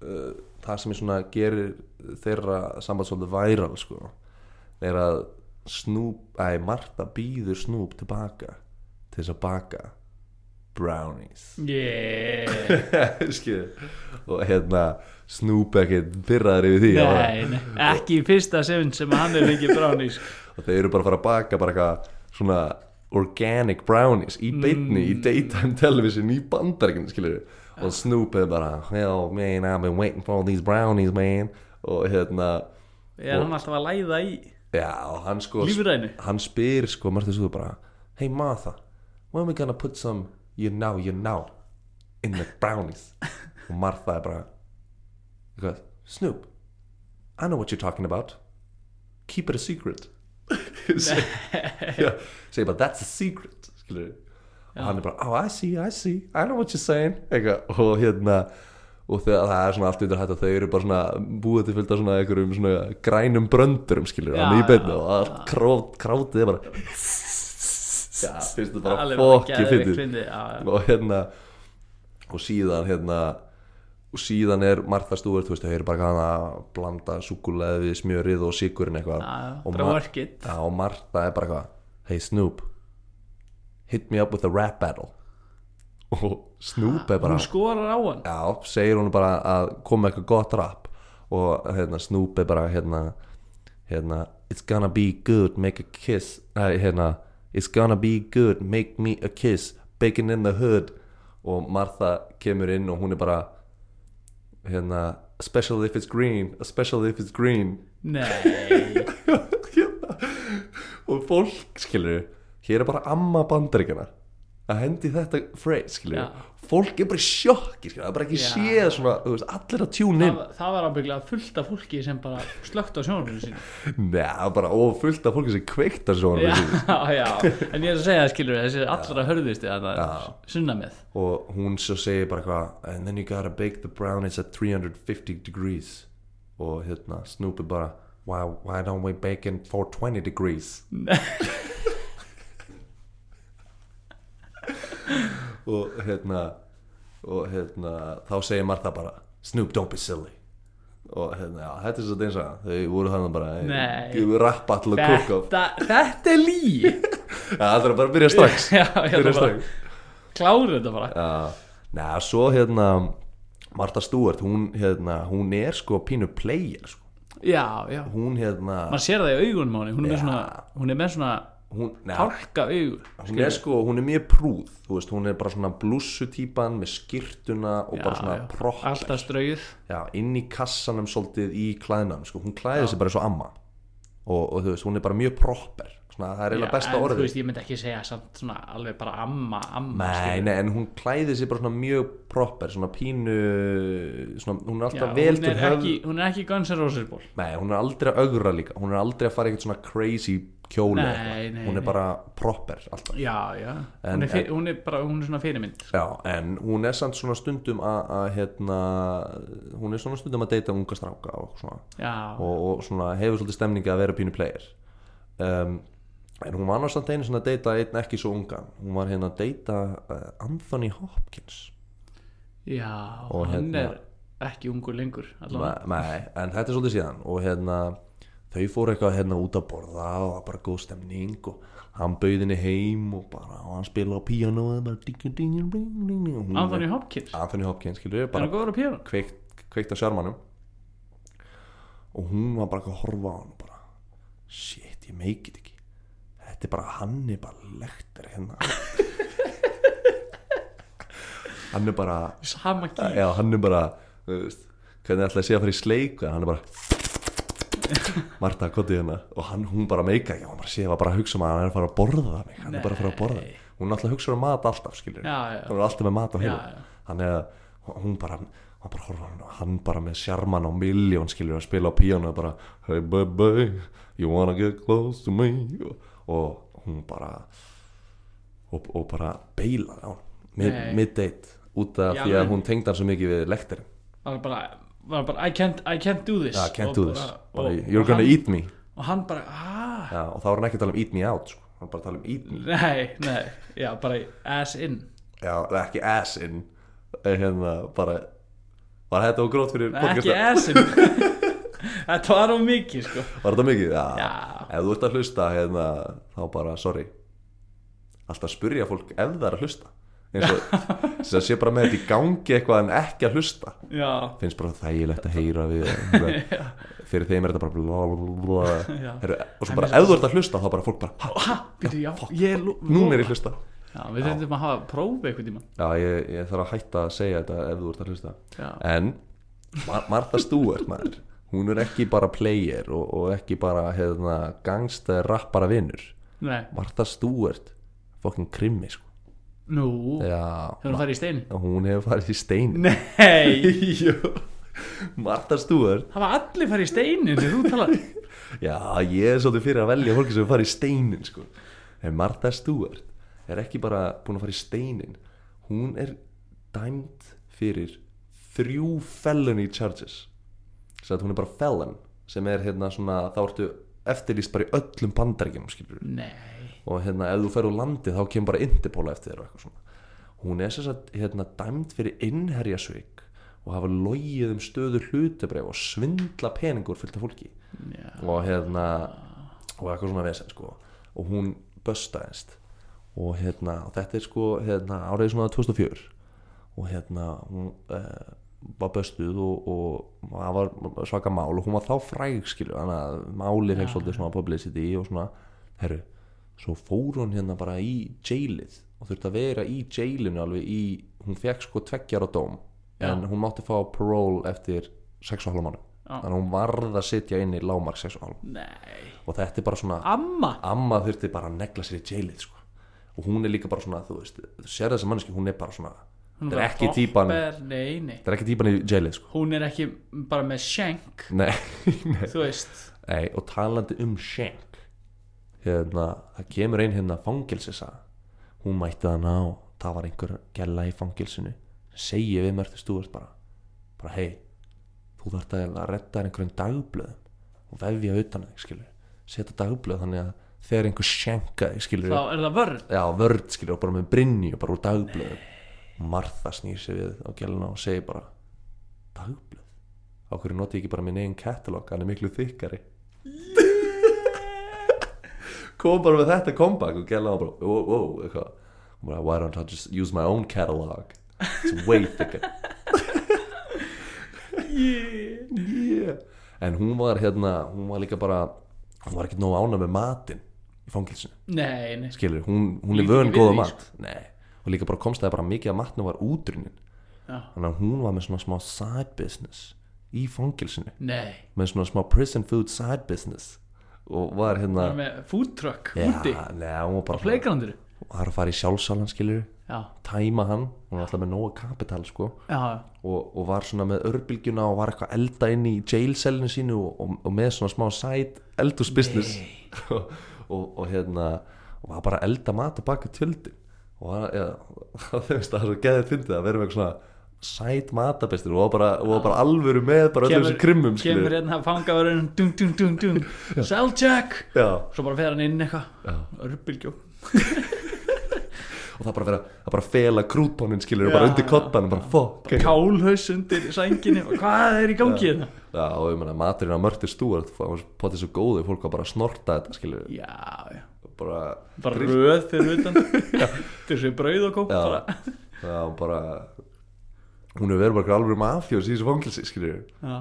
uh, það sem ég svona gerir þeirra samband svolítið væral sko er að Snoop, æ, Marta býður Snoop tilbaka til þess að baka brownies
yeah
Skilur. og hérna Snoop ekkert pyrraður yfir því bara,
nei, nei, ekki í fyrsta sinn sem hann er ekki brownies
og þeir eru bara að fara að baka bara eitthvað svona organic brownies í beinni í daytime television í bandarkinu skilur og Snoop er bara hell man I've been waiting for all these brownies man og hérna
er hann alltaf að læða í
já og hann sko
lífrænu
hann spyr sko Martha Stewart bara hey Martha when we gonna put some you know you know in the brownies og Martha er bara eitthvað, Snoop I know what you're talking about keep it a secret Seg- Já, segir bara that's a secret skilur og hann er bara oh I see I see I know what you're saying eitthvað og hérna og þegar það er svona allt undir hætt og þau eru bara svona búið til fullt af svona einhverjum svona grænum bröndurum skilur hann í
já,
beinni og allt krót, krátið er bara já, finnst þetta bara
Alveg bara
fokki
geðveikt
fyndið
fyndið, já, já.
og hérna og síðan hérna og síðan er Martha Stewart, þú veist, þau eru bara gana að blanda súkuleði við smjörið og sigurinn eitthvað
Já,
og,
bara work it
ja, og Martha er bara eitthvað Hey Snoop, hit me up with a rap battle og Snoop er bara
Hún skorar á hann
Já, segir hún bara að koma eitthvað gott rap og hérna Snoop er bara hérna, hérna It's gonna be good, make a kiss Nei, hérna It's gonna be good, make me a kiss Baking in the hood og Martha kemur inn og hún er bara hérna Especially if it's green, especially if it's green
Nei,
hérna og fólk, skilur hér er bara amma bandaríkjana að hendi þetta phrase, skilur
Já.
fólk er bara í sjokki, skilur það er bara ekki
Já.
séð svona, þú veist, allir að tjúna
það, það var ábygglega fullt af fólki sem bara slögt á sjónarbrunum sín
inn neða, bara ófullt af fólki sem kveiktar svona
Já,
yeah.
já, en ég er að segja það skilur þessi er allra hörðusti að það
Já.
sunna með
og hún svo segir bara eitthvað and then you gotta bake the brownies at 350 degrees og hérna, Snoop er bara why, why don't we bake in 420 degrees og hérna og hérna, þá segir Martha bara Snoop, don't be silly og hérna, já, þetta er svo eins og þau voru þannig bara
Nei.
hey, rap allir cook off
Þetta, þetta er lí
ja, það er bara að byrja strax
Já,
byrja
ég ætla bara
strax
klára þetta bara
Já, neða, svo hérna Martha Stewart, hún hérna hún er sko pínu player sko.
Já, já,
hún hérna
maður sér það í augunum á henni hún er með
Já.
svona, hún er með svona
hún, neða,
tálka augur
hún er sko, hún er mjög prúð þú veist, hún er bara svona blússutýpan með skýrtuna og bara svona propp
alltaf strauð
já, inn í kassanum svolítið í klæðnam sko. hún klæðir sig bara eins og amma og, og þú veist, hún er bara mjög propper svona, það er
Já,
eiginlega besta
en þú
orðið
veist, ég myndi ekki segja samt svona alveg bara amma, amma
Nei, nei, en hún klæðir sig bara svona mjög proper, svona pínu svona, hún er
Já,
alltaf vel
hún,
til
er
höfð
ekki, hún er ekki Guns N' Roses ból
Nei, hún er aldrei að ögra líka Hún er aldrei að fara í eitthvað svona crazy kjóli
Nei,
eða eitthvað.
nei,
Hún er
nei.
bara proper alltaf
Já, já,
En-
hún, er fyr, hún er bara hún er svona fyrirmynd
Já, en hún er samt svona stundum að, að hérna, hún er svona stundum að deyta unga stráka og svona
Ah, Já,
og, og svona hefur svolítið stemningi að vera pínu player um, en hún var náttúrulega samt einu svona að deyta einn ekki svo ungan hún var hérna að deyta uh, Anthony Hopkins
já
Og
hann
hérna-
er ekki ungur lengur allavega.
Nei, nei, en þetta er svolítið síðan og hérna þau fóru eitthvað hérna út að borða og það var bara góð stemning og hann bauði henni heim og bara og hann spilaði á píano og bara ding, ding, ding, ding, ding, og hún-
Anthony Hopkins,
Anthony Hopkins skilur við
er hann
bara
góður á píano?
kveikt, kveikt á sjármanum og hún var bara eitthvað að horfa á hann og bara shit ég meikið ekki þetta er bara hann er bara lektur hérna hann er bara
Sama kýr
Já, hann er bara þú veist, hvernig ætlaði að sé að fara í sleik en hann er bara Marta, kotið hérna og hann, hún bara meika ekki, hún bara sé að bara að hugsa um að hann er að fara að borða mig hann er bara að fara að borða
Nei.
hún er alltaf að hugsa um mat alltaf, skilur
Já, já.
hún er alltaf með mat á
Já, já.
hérna hann er, hún bara hann bara horfa á hann og hann bara með sjarman á miljón skilur að spila á píónu og bara hey baby, you wanna get close to me og hún bara og, og bara beilað á
Nei.
hann mid-date út af
Já,
því að
en-
hún tengd hann svo mikið við lektirinn
var bara, var bara I, can't, I can't do this
I can't
Og
do
bara-
this,
og,
bara,
og,
you're gonna
hann,
eat me
og hann bara, aaa
já, og þá er hann ekki að tala um eat me out sko. hann er bara að tala um eat me
Nei, nei, já, bara í ass in
já, eða ekki ass in eh, hérna, bara var þetta og grót fyrir
Nei,
podcasta?
Ekki ass in Þetta var á mikið, sko
var þetta mikið? Já.
Já.
ef þú ert að hlusta hérna, þá bara, sorry alltaf spyrja fólk ef það er að hlusta eins og sem sé bara með þetta í gangi eitthvað en ekki að hlusta
Já,
finnst bara þægilegt að heyra við fyrir þeim er þetta bara bla bla bla
Já.
Heru, og svo bara ef þú ert að hlusta þá bara fólk bara
og ha, byrju, já, ég lo-
"Ha, núna er ég að hlusta
Já, við þurfum að hafa prófi einhvern tímann
já ég, ég þarf að hætta að segja þetta ef þú ert að hlusta
Já.
en Mar Martha Stewart maður hún er ekki bara player og, og ekki bara hérna, hefna, gangstæð rappara vinnur
Nei,
Martha Stewart fokkin krimmi sko
nú,
já
hefur hún farið í stein
hún hefur farið í stein
Nei,
Martha Stewart
það var allir farið í steinin þegar þú talar
Já, ég er svolítið fyrir að velja fólki sem fara í steinin sko. En Martha Stewart er ekki bara búin að fara í steinin Hún er dæmd fyrir þrjú felony charges Svo að hún er bara felon sem er hérna svona, þá ertu eftirlýst bara í öllum bandaríkjum skilur
Nei,
og hérna ef þú fer úr landi þá kemur bara Interpol eftir þér og eitthvað svona hún er sér að hérna dæmd fyrir innherjasvík og hafa logið um stöðu hlutabref og svindla peningur fullt af fólki
já,
og hérna og eitthvað svona vesen sko og hún böstaðist og hérna og þetta er sko hérna árið svona 2004 og hérna hún uh, var böstuð og, og það var svaka mál og hún var þá fræg skilur þannig að málið fekk svolítið svona publicity og svona herru svo fór hún hérna bara í jailið og þurfti að vera í jailinu alveg í hún fekk sko tveggjara dóm en hún mátti fá parole eftir 6,5 mánu
Já.
þannig að hún varð að sitja inn í lámark 6,5
nei
og þetta er bara svona
amma,
amma þurfti bara að negla sér í jailið sko. og hún er líka bara svona þú veist, þú sér þessa manneski, hún er bara svona það er
bara
ekki típan
topper, nei, nei
það er ekki típan í jailið sko.
hún er ekki bara með shank
nei, nei.
þú veist,
Nei, og talandi um shank hérna, það kemur ein hérna fangilsisa hún mætti það ná, það var einhver gæla í fangilsinu segi við mörgstu stúðast bara bara hei, þú þarft að að redda þér einhverjum dagblöðum og vefja utan þig, skilur setja dagblöð þannig að þegar einhver shanka þig, skilur
þá er það vörn
já, vörð skilur og bara með brinni og bara úr dagblöðum Martha snýr sér við á gæluna og segir bara dagblöð á hverju noti ég ekki bara minn eigin katalog hann er miklu þykkari kom bara með þetta comeback og gæluna bara wow, wow, eitthvað Hún bara, why don't I just use my own catalog it's way thicker
yeah.
yeah. en hún var hérna hún var líka bara hún var ekki nóg ána með matinn í fangilsinu
nei, sko, nei,
skilur, hún, hún er
Lít
vön
ekki við
góða
því, sko.
mat Nei. og líka bara komst það bara mikið að matna var útrunnin
Já.
þannig að hún var með svona smá side business í fangilsinu,
nei
með svona smá prison food side business og var hérna
bara með food truck
Já,
úti,
nei, hún var bara svona-
playgroundur
hún var að fara í sjálfsalan skilur
já,
tæma hann, hún var alltaf með nóga kapital sko,
já, já
og, og var svona með örbylgjuna og var eitthvað að elda inn í jailsellinu sínu og, og, og með svona smá side eldus business og, og, og hérna og var bara að elda mat og baka tjöldin og var, ja, það veist það er svo geðið fyndið að vera með eitthvað svona side matabestir og var bara, og var bara alvöru með bara öllum þessum krimmum
kemur
skilur
hérna fangavörun dung, dung, dung, dung, seljack
Já,
svo bara fer hann inn eitthvað
já.
örbylgjó
og það bara vera að bara fela krútónin skilur og bara
Já,
undir
já.
kottan og bara fuck
kálhaus undir sænginni og hvað er í gangi hérna? þetta
Já, og ég meina maturinn á mörtir stúar það var potið svo góðið fólk að bara snorta þetta skilur
já, já
bara
bara röð fyrir utan til þessu brauð og kók
Já.
bara.
Já, hún bara hún hefur verið bara alveg mafjós í þessu fangilsi skilur
já,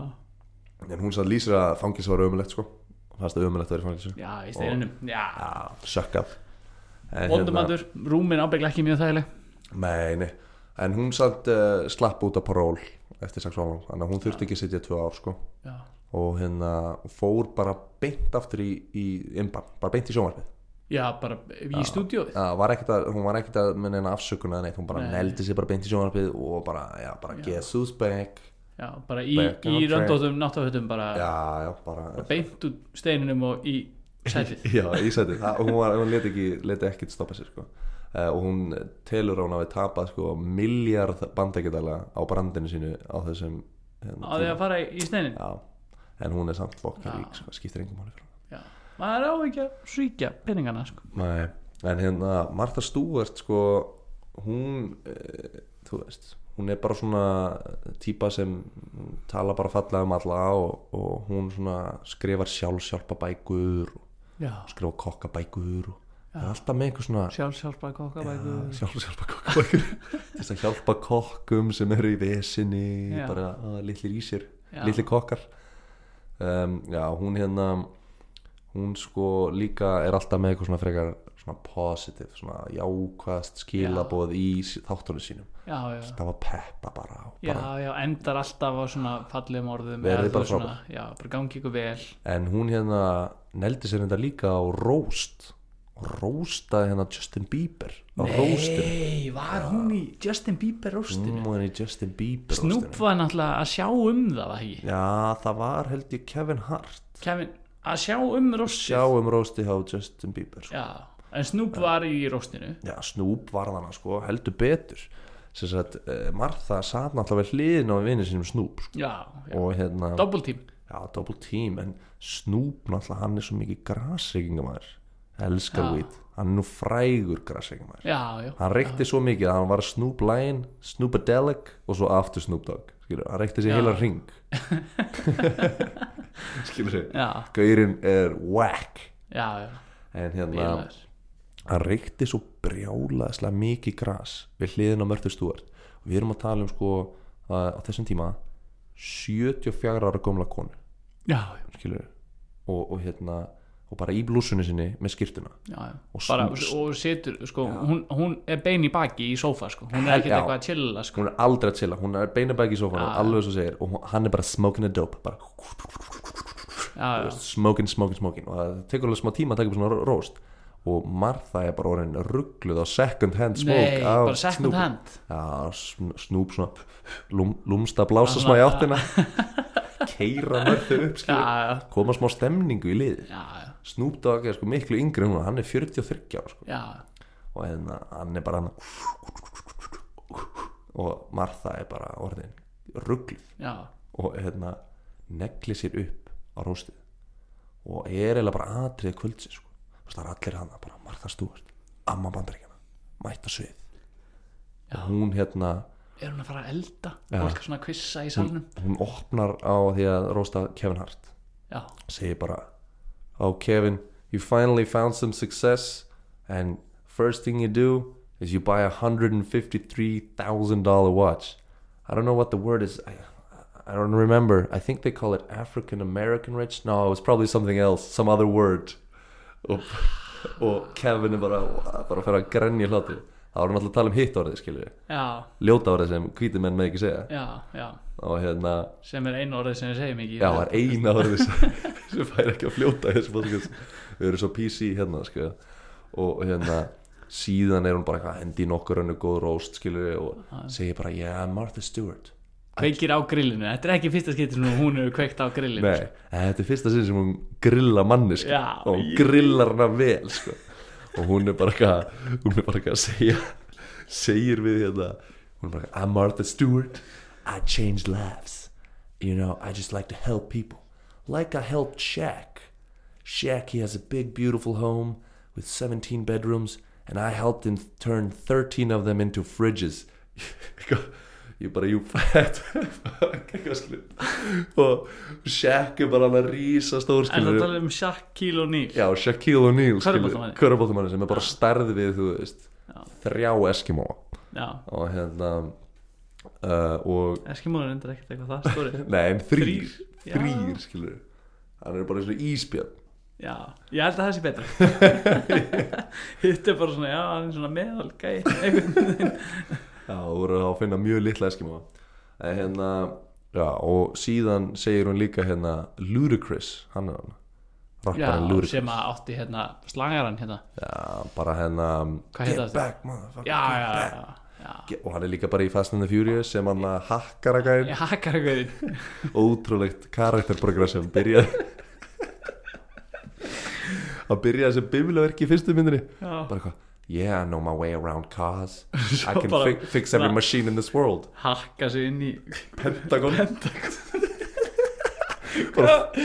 en hún sann lýsir að fangilsi var ömulegt sko Hún fannst það ömulegt að vera í fangilsi
já, í steininum já,
já, suck up En hérna-
vondumandur, rúmin ábyggla ekki mjög þægileg
nei, nei. en hún samt uh, slapp út af paról eftir 6 ára þannig að hún þurfti ekki að sitja 2 ár sko
já,
og hérna fór bara beint aftur í, í imban, bara beint í sjónvarpið
já bara í stúdíóið
Já, var ekkert að, hún var ekkert að minna henni afsökuna neitt, hún bara
Nei.
neldi sér bara beint í sjónvarpið og bara, já, bara Jesus back
já, bara í,
Back on
í
track.
röndóttum náttúrhöttum bara
já, já, bara
beint úr steininum og í sætið
Já, í sætið, Það- hún, var- hún leti ekki, leti ekki stoppa sér sko. uh, og hún telur að hún hafi tapað sko, miljard bandekjadala á brandinu sínu á þessum hérna,
á því að fara í, í steinin
Já, en hún er samt fokkin rík, sko, skiptir engum máli frá
já. maður á ekki að svíkja peningana sko.
Nei, en hérna Martha Stewart sko, hún uh, þú veist, hún er bara svona típa sem tala bara fallega um alla og, og hún svona skrifar sjálfsjálpa bækur og
já,
skrifa kokkabækur og það er alltaf með einhver svona
sjálf sjálf bara kokkabæku
sjálfshjálpa kokkabækur þess að hjálpa kokkum sem eru í vesinni
Já.
bara að, litlir í sér,
Já.
litlir kokkar um, já, hún hérna hún sko líka er alltaf með eitthvað svona frekar svona positive, svona jákvæðast skilaboð í s- þáttunum sínum
já, já
það var peppa bara, og
Já,
bara.
já, endar alltaf á svona fallegum orðum
Verið
eða þú
bara
svona, Já, bara gangi ykkur vel
en hún hérna neldi sér hérna líka á roast roastaði hérna Justin Bieber á roastinu
Nei, var hún í Justin Bieber rostinu?
hún var í Justin Bieber
Snoop var náttúrulega að sjá um það, var það ekki?
Já, það var held ég Kevin Hart
Kevin, að sjá um rostinu?
Sjá um rósti hjá Justin Bieber sko.
Já, en Snoop var í rostinu
Já, Snoop var þarna sko, heldur betur sem sagt, eh, Martha satt náttúrulega við hliðin á vinni sínum Snoop sko.
Já, já.
og hérna,
double team
já, double team en Snoop náttúrulega, hann er svo mikið grasreikingamæður, elskar
Já.
weed hann er nú frægur grasreikingamæður
Já, já,
hann reykti svo mikið að hann var Snoop Lion Snoopadelic og svo aftur Snoop Dogg skilur, hann reykti sér
Já.
heilan ring skilur sér
já,
gaurinn er whack
já, já,
en hérna
bílaður
hann reykti svo brjálaðislega mikið gras við hliðin á Mörtu Stúart og við erum að tala um sko að á þessum tíma 74 ára gömla konu
já,
skilur og, og hérna og bara í blúsunni sinni með skýrtuna
já, já
og
bara,
snúst.
og situr, sko, hún, hún er bein í baki í sófa, sko, hún er ekkert
Já.
eitthvað að chilla, sko
hún er aldrei að chilla, hún er beinabæk í sófanum
Já.
alveg svo segir og hún- hann er bara smoking a dope bara
já, já,
smoking, smoking, smoking og það tekur alveg smá tíma að taka upp svona ró- róst og Martha er bara orðin ruggluð á second hand smoke
nei,
af
bara second
Snoop.
hand
Já, sn- snúp svona lúm, lúmsta blása
Já,
smá
svona-
í áttina keira mörðu upp
já,
skilur,
já,
koma smá stemningu í liði
já, já,
Snoop Dogg er sko miklu yngri en hún, hann er 43 ára sko.
já,
og hérna, hann er bara hann og Martha er bara orðin ruggluð
já,
og hérna negli sér upp á róstið og er eiginlega bara atrið kvöldsins sko. Þú veist, það er allir hana, bara Martha Stewart amma bandaríkjana, mæta svið og hún hérna
er hún að fara að elda
Já.
fólk er svona að kvissa í salnum
hún opnar á því að rósta Kevin Hart
já,
segir bara oh Kevin, you finally found some success and first thing you do is you buy a $153,000 watch I don't know what the word is I, I don't remember I think they call it African American rich no it was probably something else some other word og, og Kevin er bara bara að fyrir að grenja hlátri þá er hann alltaf að tala um hitt orðið skilur
já,
ljóta orðið sem hvítir menn með ekki segja
já, já
og hérna
sem er einu orðið sem ég segi mikið
Já, það er eina orðið sem, sem fær ekki að fljóta í þessu podcast. Við erum svo PC hérna, sko. Og hérna, síðan er hún bara eitthvað að hendi í nokkur önnu góð róst, skilur við, og segir bara, yeah, Martha Stewart.
kveikir á grillinu, þetta er ekki fyrsta skipti sem hún hefur kveikt á grillinu sko.
Nei, en þetta er fyrsta sinn sem hún grilla manni, sko.
Já,
og hún
ég-
grillar hana vel, sko. Og hún er bara eitthvað, hún er bara eitthvað að segja, segir við hérna, hún er bara eitthvað, I'm Martha Stewart, I change lives. You know, I just like to help people. Like I helped Shaq. Shaq, he has a big, beautiful home with 17 bedrooms, and I helped him turn 13 of them into fridges. ég bara, jú, fætt eitthvað skilur og Sko, Shaq er bara hann að rísa stór
en það
skilur
tala um Shaquille O'Neal
já, Shaquille O'Neal
Körfuboltamanni.
körubóttamanni sem er bara stærði við, þú veist
Já.
þrjá Eskimo
já,
og hérna uh, og,
Eskimóður er endur ekkert eitthvað það stórið
nei, en þrýr
Þrír, já.
þrýr, skilur hann er bara eins og íspjörn
Já, ég held að það sé betra Hitt er bara svona, já, hann er svona meðal gæ einhvern veginn.
Já, þú voru að finna mjög litla eskima En hérna Já, og síðan segir hún líka hérna Ludacris, hann er hann Rapparinn
Já,
Ludacris
sem að átti hérna slagaran hérna
Já, bara hérna
Hvað
Get
heita þetta?
back, motherfucker
Já,
get
já,
back."
já, já
Get- Og hann er líka bara í Fast and the Furious sem hann að hakkar að gæn
Ég hakkar einhverjum
Ótrúlegt karakterprogram sem byrjaði Hann byrjaði sem biflaverki í fyrstu myndinni
Já.
Bara eitthvað Yeah, I know my way around cars I
Svo
can
bara-
fi fix every
bara-
machine in this world
Hakka sig inn í
Pentagon
Hvað,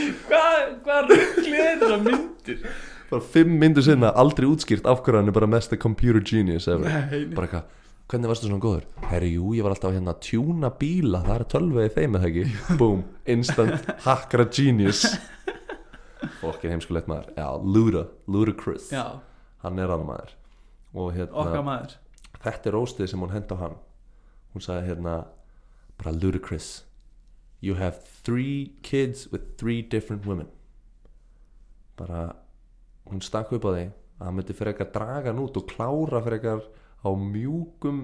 hvað rugglið er þetta myndir?
bara fimm myndu sinna aldrei útskýrt af hverju hann er bara mesta computer genius ever.
Nei.
bara eitthvað, hvernig varstu svona góður herri jú, ég var alltaf hérna að tjúna bíla það er tölvaði þeim eða ekki boom, instant hackra genius okkur heimskulegt maður já, Luda, Ludacris
Já,
hann er hann maður og
okkar
hérna,
maður
þetta er róstið sem hún hend á hann hún sagði hérna bara Ludacris you have three kids with three different women bara hún stakk upp á því að hann myndi fyrir eitthvað draga hann út og klára fyrir eitthvað á mjúkum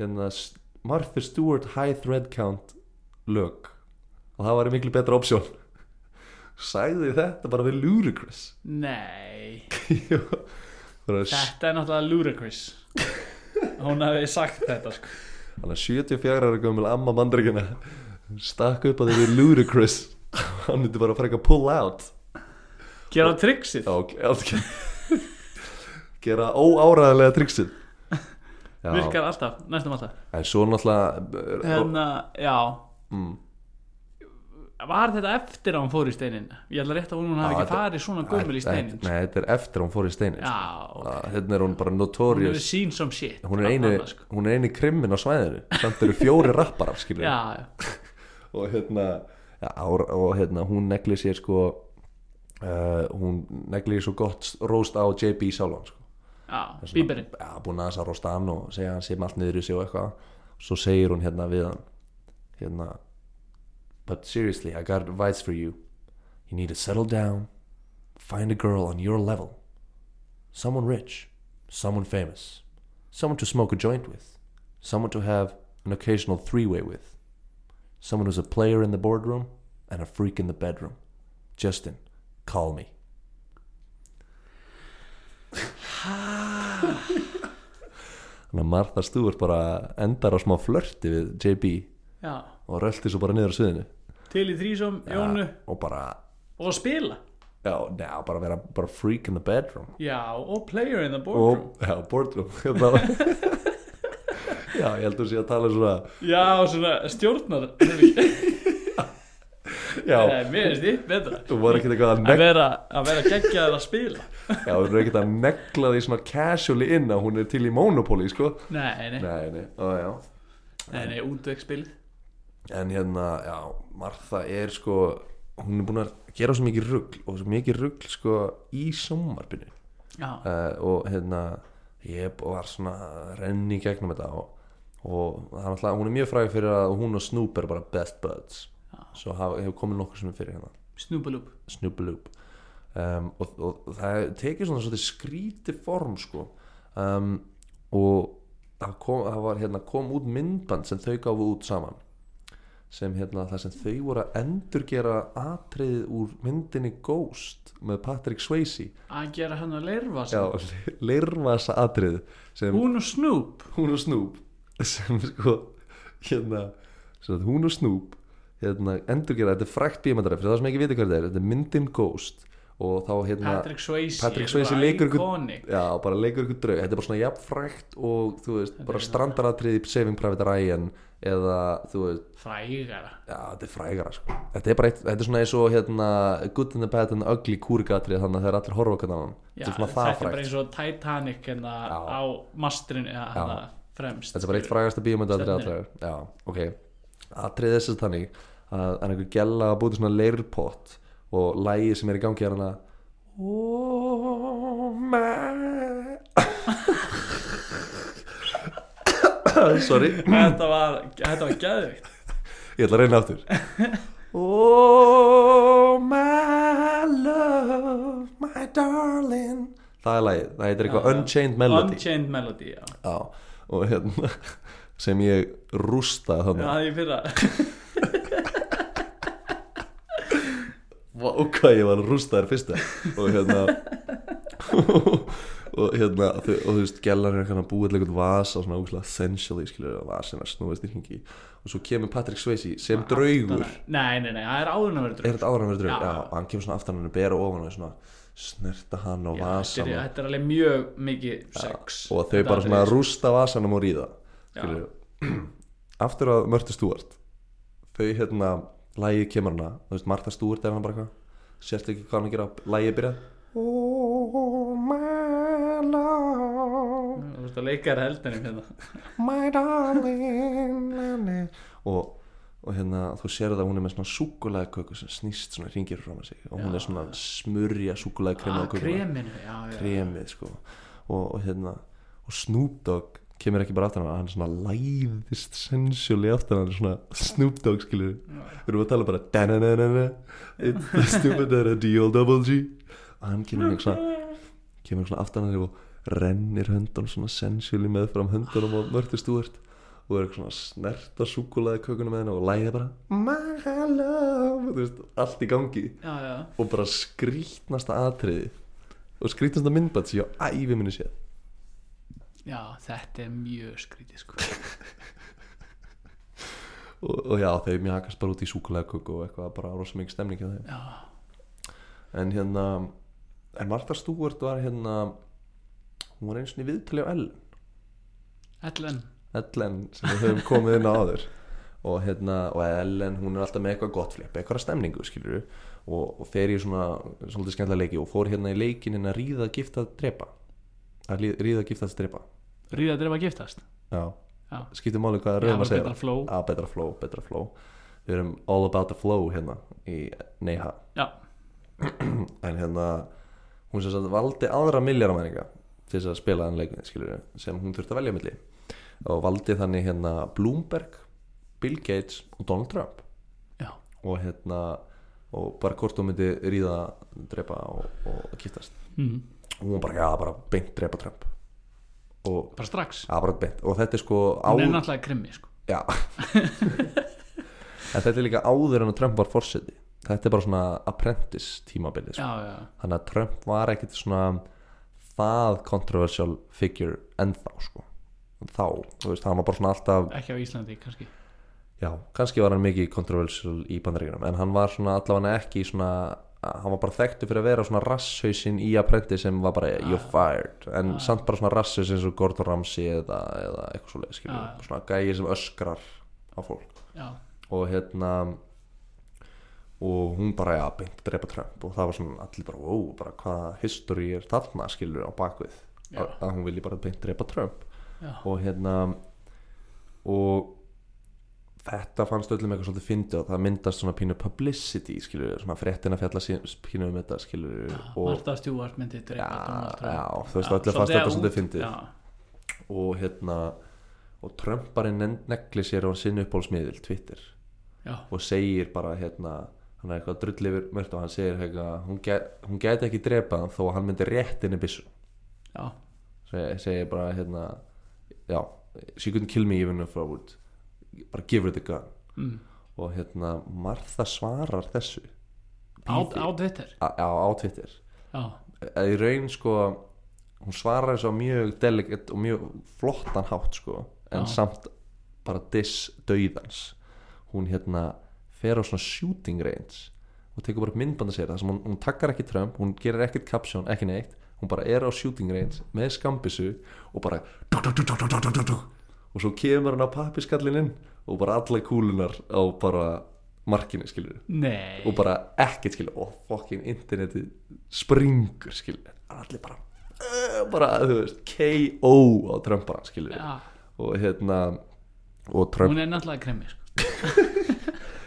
hérna, S- Martha Stewart high thread count lög og það var miklu betra option sagði þetta bara við Ludacris
Nei,
Jú. Bara s-
þetta er náttúrulega ludicrous Hún hefði sagt þetta sko
hann er 74 ára gömul amma mandrikina stakk upp að því við Ludacris hann myndi bara fara eitthvað pull out
Gera trixið
já, allt gera óáraðilega trixið já,
Virkar alltaf, næstum alltaf
en svo náttúrulega
Þannig að, já
Mm.
Var þetta eftir að hún fór í steinin? Ég ætla rétt að hún hafi
Já,
ekki
þetta-
farið svona gömul í steinin
nei, þetta er eftir að hún fór í steinin
Já,
sko. hérna er hún bara
hún hefur
notorious
seen some shit
hún er
allan
eini,
það, sko.
hún er eini krimmin á svæðinu samt eru fjóri rapparar skilur
Já, já
og hérna, ja, ár, og hérna hún negli sér sko uh, hún negli svo gott róst á JB sjálfan sko.
já, bíberinn
ja, búin aðeins að rósta hann og segja hann sem allt niður í sig og eitthvað svo segir hún hérna við hann hérna but seriously I got advice for you you need to settle down find a girl on your level someone rich someone famous someone to smoke a joint with someone to have an occasional three-way with someone who's a player in the boardroom and a freak in the bedroom Justin call me Þannig að Martha Stewart bara endar á smá flörti við JB
já,
og rölti svo bara niður á sviðinu
til í þrísom, Jónu
og bara,
og spila,
já, neða, bara vera bara freak in the bedroom
já, og player in the boardroom
og, já, boardroom Hérna- já, ég heldur sé að tala um svona
já, svona stjórnar já,
já,
mér finnst þitt betra
þú voru ekkert eitthvað að
að
negla
vera, að vera geggjaður að spila
já, þú voru ekkert að negla því svona casually inn að hún er til í Monopoly, sko
nei, nei,
nei, nei, ó, já
nei, nei útvegspilið
en hérna, já, Martha er sko hún er búin að gera svo mikið rugl og svo mikið rugl sko í sjónvarpinu
já,
uh, og hérna ég var svona að renni í gegnum þetta og, og það er alltaf, hún er mjög fræg fyrir að hún og Snoop er bara best buds svo hafa, hefur komið nokkur sem er fyrir hérna
snúbalúp
Snoopaloop um, og, og það tekið svona svolítið skrítið form sko um, og það kom, það var, hérna, kom út myndband sem þau gafu út saman sem hérna það sem þau voru að endurgera atriðið úr myndinni Ghost með Patrick Swayze
að gera hann að lerfa sig.
já, lirvasa atrið sem
hún og Snoop
hún og Snoop sem sko hérna, sem sagt, hún og Snoop hérna, endurgera, þetta er frækt bíomandræð fyrir það sem ekki viti hvað þetta er, þetta er myndin Ghost og þá hérna
Patrick Swayze
Patrick Swayze leikur ykkur
iconic.
já, bara leikur ykkur draug, þetta er bara svona jafn frækt og þú veist, bara
er-
strandaratriði Saving Private Ryan eða þú veist,
frægara
já, þetta er frægara sko. þetta er bara, eitt, þetta er svona eins og hérna, Good in the Bad and the Ugly kúrigatrið þannig að það er allir horfa okkur annan
Já,
þetta er svona það
þetta er bara
frækt,
eins og Titanic hérna á mastrinu eða hérna fremst
þetta er bara eitt frægasta bíómyndatrið
Stefnir.
allra, já, ok atrið þess að þannig að að einhver gælla að búti svona leirpott og lægi sem er í gangi er hana Oh man Sorry
þetta var, þetta var geðvikt
Ég ætla að reyna aftur Oh my love, my darling Það er lagið, það heitir eitthvað Unchained Melody
Unchained Melody, já
Já, og hérna sem ég rústa þannig
Það er fyrra
Vá, og hvað ég var rústaður fyrsta og hérna og hérna þau, og þú veist gellar er hérna búið til eitthvað vasa svona úkslega essentially skilur að vasin að snúast í hringi og svo kemur Patrick Swayze sem draugur er
Nei, nei, nei, það er áður en að vera draugur
þetta áður en verið draug?
Já.
Já, og hann kemur svona aftan hann og bera ofan og er svona snerta hann og
Já,
vasan
þetta er-
og,
Þetta er alveg mjög mikið sex
og þau
Þetta
bara svona
atriði.
rústa vasanum og ríða skilur aftur að Mörtu Stúart þau hérna, lægið kemur hana þú veist, Martha Stúart er hann bara eitthvað sérst ekki hvað hann gerir að lægið byrja Oh my love
Þú veist að leikar heldinum hérna
my darling na, na. og, og hérna þú sérð að hún er með svona súkulæðköku sem snýst svona ringir frá sig og hún er svona að smurja súkulæðkrema
Að Ah, kreminu, já, já
kremið sko og, og hérna og Snoop Dogg kemur ekki bara aftan hann hann svona læðist sensjóli aftan hann svona Snoop Dogg skilur við erum að tala bara da-na-na-na-na it's the stupid da deal double G og hann kemur með svona kemur svona aftan hann og rennir höndunum svona sensjóli með fram höndunum og mörtu stúart og er eitthvað svona að snerta súkulaði kökunum með henni og læði bara my love þú veist, allt í gangi
Já, já
og bara skrítnasta atriði og skrítnasta myndbætt sem ég á ævi minni séð
Já, þetta er mjög skrítið sko
og, og já, þau mjögast bara út í súkulegköku og eitthvað bara rosa mikið stemning hjá þeim
Já,
en hérna, en Martha Stewart var hérna hún var eins og viðtali á Ellen
Ellen
Ellen sem við höfum komið inn á áður og hérna, og Ellen hún er alltaf með eitthvað gott flipp, eitthvað stemningu skilur og, og fer í svona svolítið skemmtilega leiki og fór hérna í leikin hérna ríða, gifta, drepa að lí- ríða, gifta, drepa
Ríða að drefa að giftast
já
Já
skiptir máli hvað
Já,
rauðum að
bara
segja
betra flow.
Já, betra flow, betra flow við erum all about the flow hérna í Neiha
Já.
en hérna hún sem sagt valdi aðra milljaramæninga til þess að spila hann leikunni skilur sem hún þurfti að velja á milli og valdi þannig hérna Bloomberg Bill Gates og Donald Trump
Já.
og hérna og bara hvort hún myndi ríða drepa og, og kiftast
mm.
og hún var bara, já, bara beint drepa Trump og,
bara strax
já, bara beint og þetta er sko
hún er
áður-
náttúrulega krimmi sko.
Já En þetta er líka áður en að Trump var forseti Þetta er bara svona apprentice tímabilið sko.
já, já,
Þannig að Trump var ekkit svona það controversial figure ennþá sko. þá, þú veist, hann var bara svona alltaf
ekki á Íslandi kannski
já, kannski var hann mikið controversial í bandaríkunum en hann var svona allavega ekki svona hann var bara þekktu fyrir að vera svona rasshausinn í apprentice sem var bara you're fired en samt bara svona rasshausinn eins og Gordon Ramsay eða, eða eitthvað svo leið
Já, já.
svona gæi sem öskrar á fólk
já,
og hérna og hún bara, já, beint að drepa Trump og það var svona allir bara, wow, bara hvaða history er þarna, skilur á bakvið
Já.
að, að hún vilji bara beint drepa Trump
já,
og hérna og þetta fannst öllum eitthvað svolítið fyndið og það myndast svona pínu publicity, skilur svona fréttina fjalla sín, pínu um þetta, skilur og
Martha Stewart myndi um drepa
Já,
Donald Trump.
já, þú veist, öllu fannst
svolítið
þetta svolítið
út-
fyndið.
já,
og hérna og Trump bara nen- negli sér á sinni uppbólsmiðil, Twitter
já,
og segir bara hérna hann er eitthvað drull yfir mörgt og hann segir hérna, hún, get, hún geti ekki drepað hann þó að hann myndi rétt inn í byssu
já,
segir, segir bara hérna já, she couldn't kill me even if I would bara give her the gun
mm.
og hérna Martha svarar þessu
á,
Bíði.
á Twitter
á, á, á Twitter
já,
að í raun sko hún svarar þessu á mjög delegate og mjög flottan hátt sko en
Já.
samt bara diss döiðans hún hérna fer á svona shooting range og tekur bara myndbanda sér þar sem hún, hún takkar ekki Trump, hún gerir ekkert caption, ekki neitt hún bara er á shooting range með skambissu og bara dú, dú, dú, dú, dú, dú, dú, dú. og svo kemur hann á pappiskallinin og bara alla kúlunar á bara markinu skilur
nei
og bara ekkert skilur og fokkin internetið springur skilur allir bara uh, bara þú veist KO á Trump bara skilur
já,
og hérna og Trump
hún er náttúrulega krimmi sko.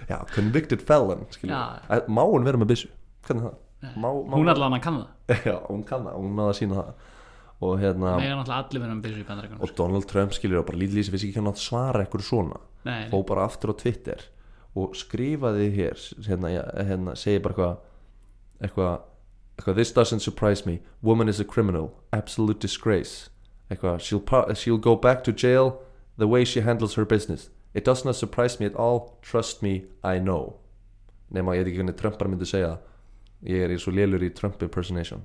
já, convicted felon skilur
Já.
Að- má hún vera með byssu hvernig er það má, má,
hún allan að kann það
já, hún kann það hún náða að sína það og hérna
Nei, náttúrulega allir verðum byrju í bandarækjunum
og Donald Trump skilur og bara lítið lýsi vissi ekki hann að svara ekkur svona
Nei,
fó bara aftur á Twitter og skrifaði hér hérna, ja, hérna segi bara eitthvað eitthvað eitthvað this doesn't surprise me woman is a criminal absolute disgrace eitthvað she'll, pro- she'll go back to jail the way she handles her business it does not surprise me at all trust me I know nema ég veit ekki hvernig Trump bara myndi segja það ég er í svo lélur í Trump impersonation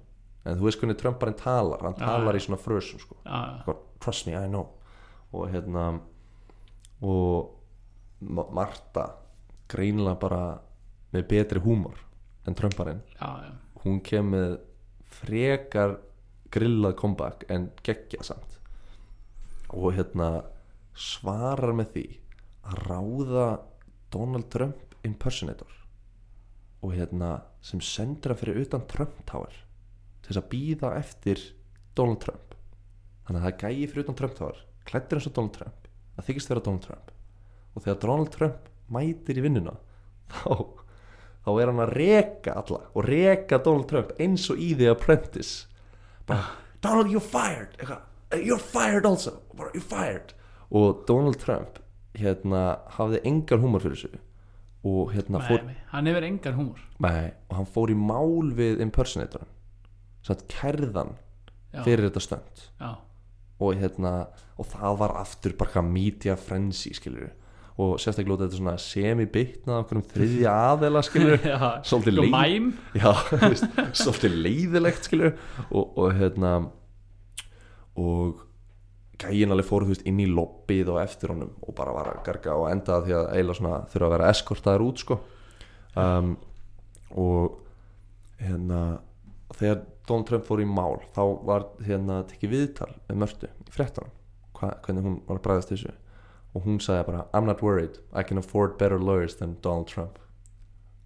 en þú veist hvernig Trump bara talar hann talar í svona frösum sko
já, já,
Sko, trust me, I know og hérna og Ma- Marta greinlega bara með betri húmor en Trumparinn
já, já,
hún kem með frekar grillað comeback en geggja samt og hérna svarar með því að ráða Donald Trump impersonator og hérna sem sendur hann fyrir utan Trump Tower til þess að býða eftir Donald Trump þannig að það er gæi fyrir utan Trump Tower klættur eins og Donald Trump að þykist vera Donald Trump og þegar Donald Trump mætir í vinnuna þá þá er hann að reka alla og reka Donald Trump eins og í The Apprentice bara, Donald you're fired Eitthvað, "Eh, you're fired also bara, you're fired og Donald Trump hérna hafði engan húmor fyrir þessu og hérna
nei,
fór
nei, hann hefur engan húmor
nei, og hann fór í mál við impersonatorin satt kærðan
Já.
fyrir þetta stönd
Já,
og hérna og það var aftur bara hvað media frenzy skilur og sérstaklega út af þetta svona semi-bitnað okkur um þriðja aðeila skilur
já,
svolítið
sko
leið-
mæm
já, þú veist, svolítið leiðilegt skilur og, og hérna og gæin alveg fór þú veist inn í lobbyð og eftir honum og bara var að garga og endaði því að eiginlega svona þurfa að vera eskortaður út sko um, og hérna þegar Donald Trump fór í mál þá var hérna tekið viðtal með Mörtu í fréttanum hva, hvernig hún var að bræðast þessu og hún sagði bara I'm not worried, I can afford better lawyers than Donald Trump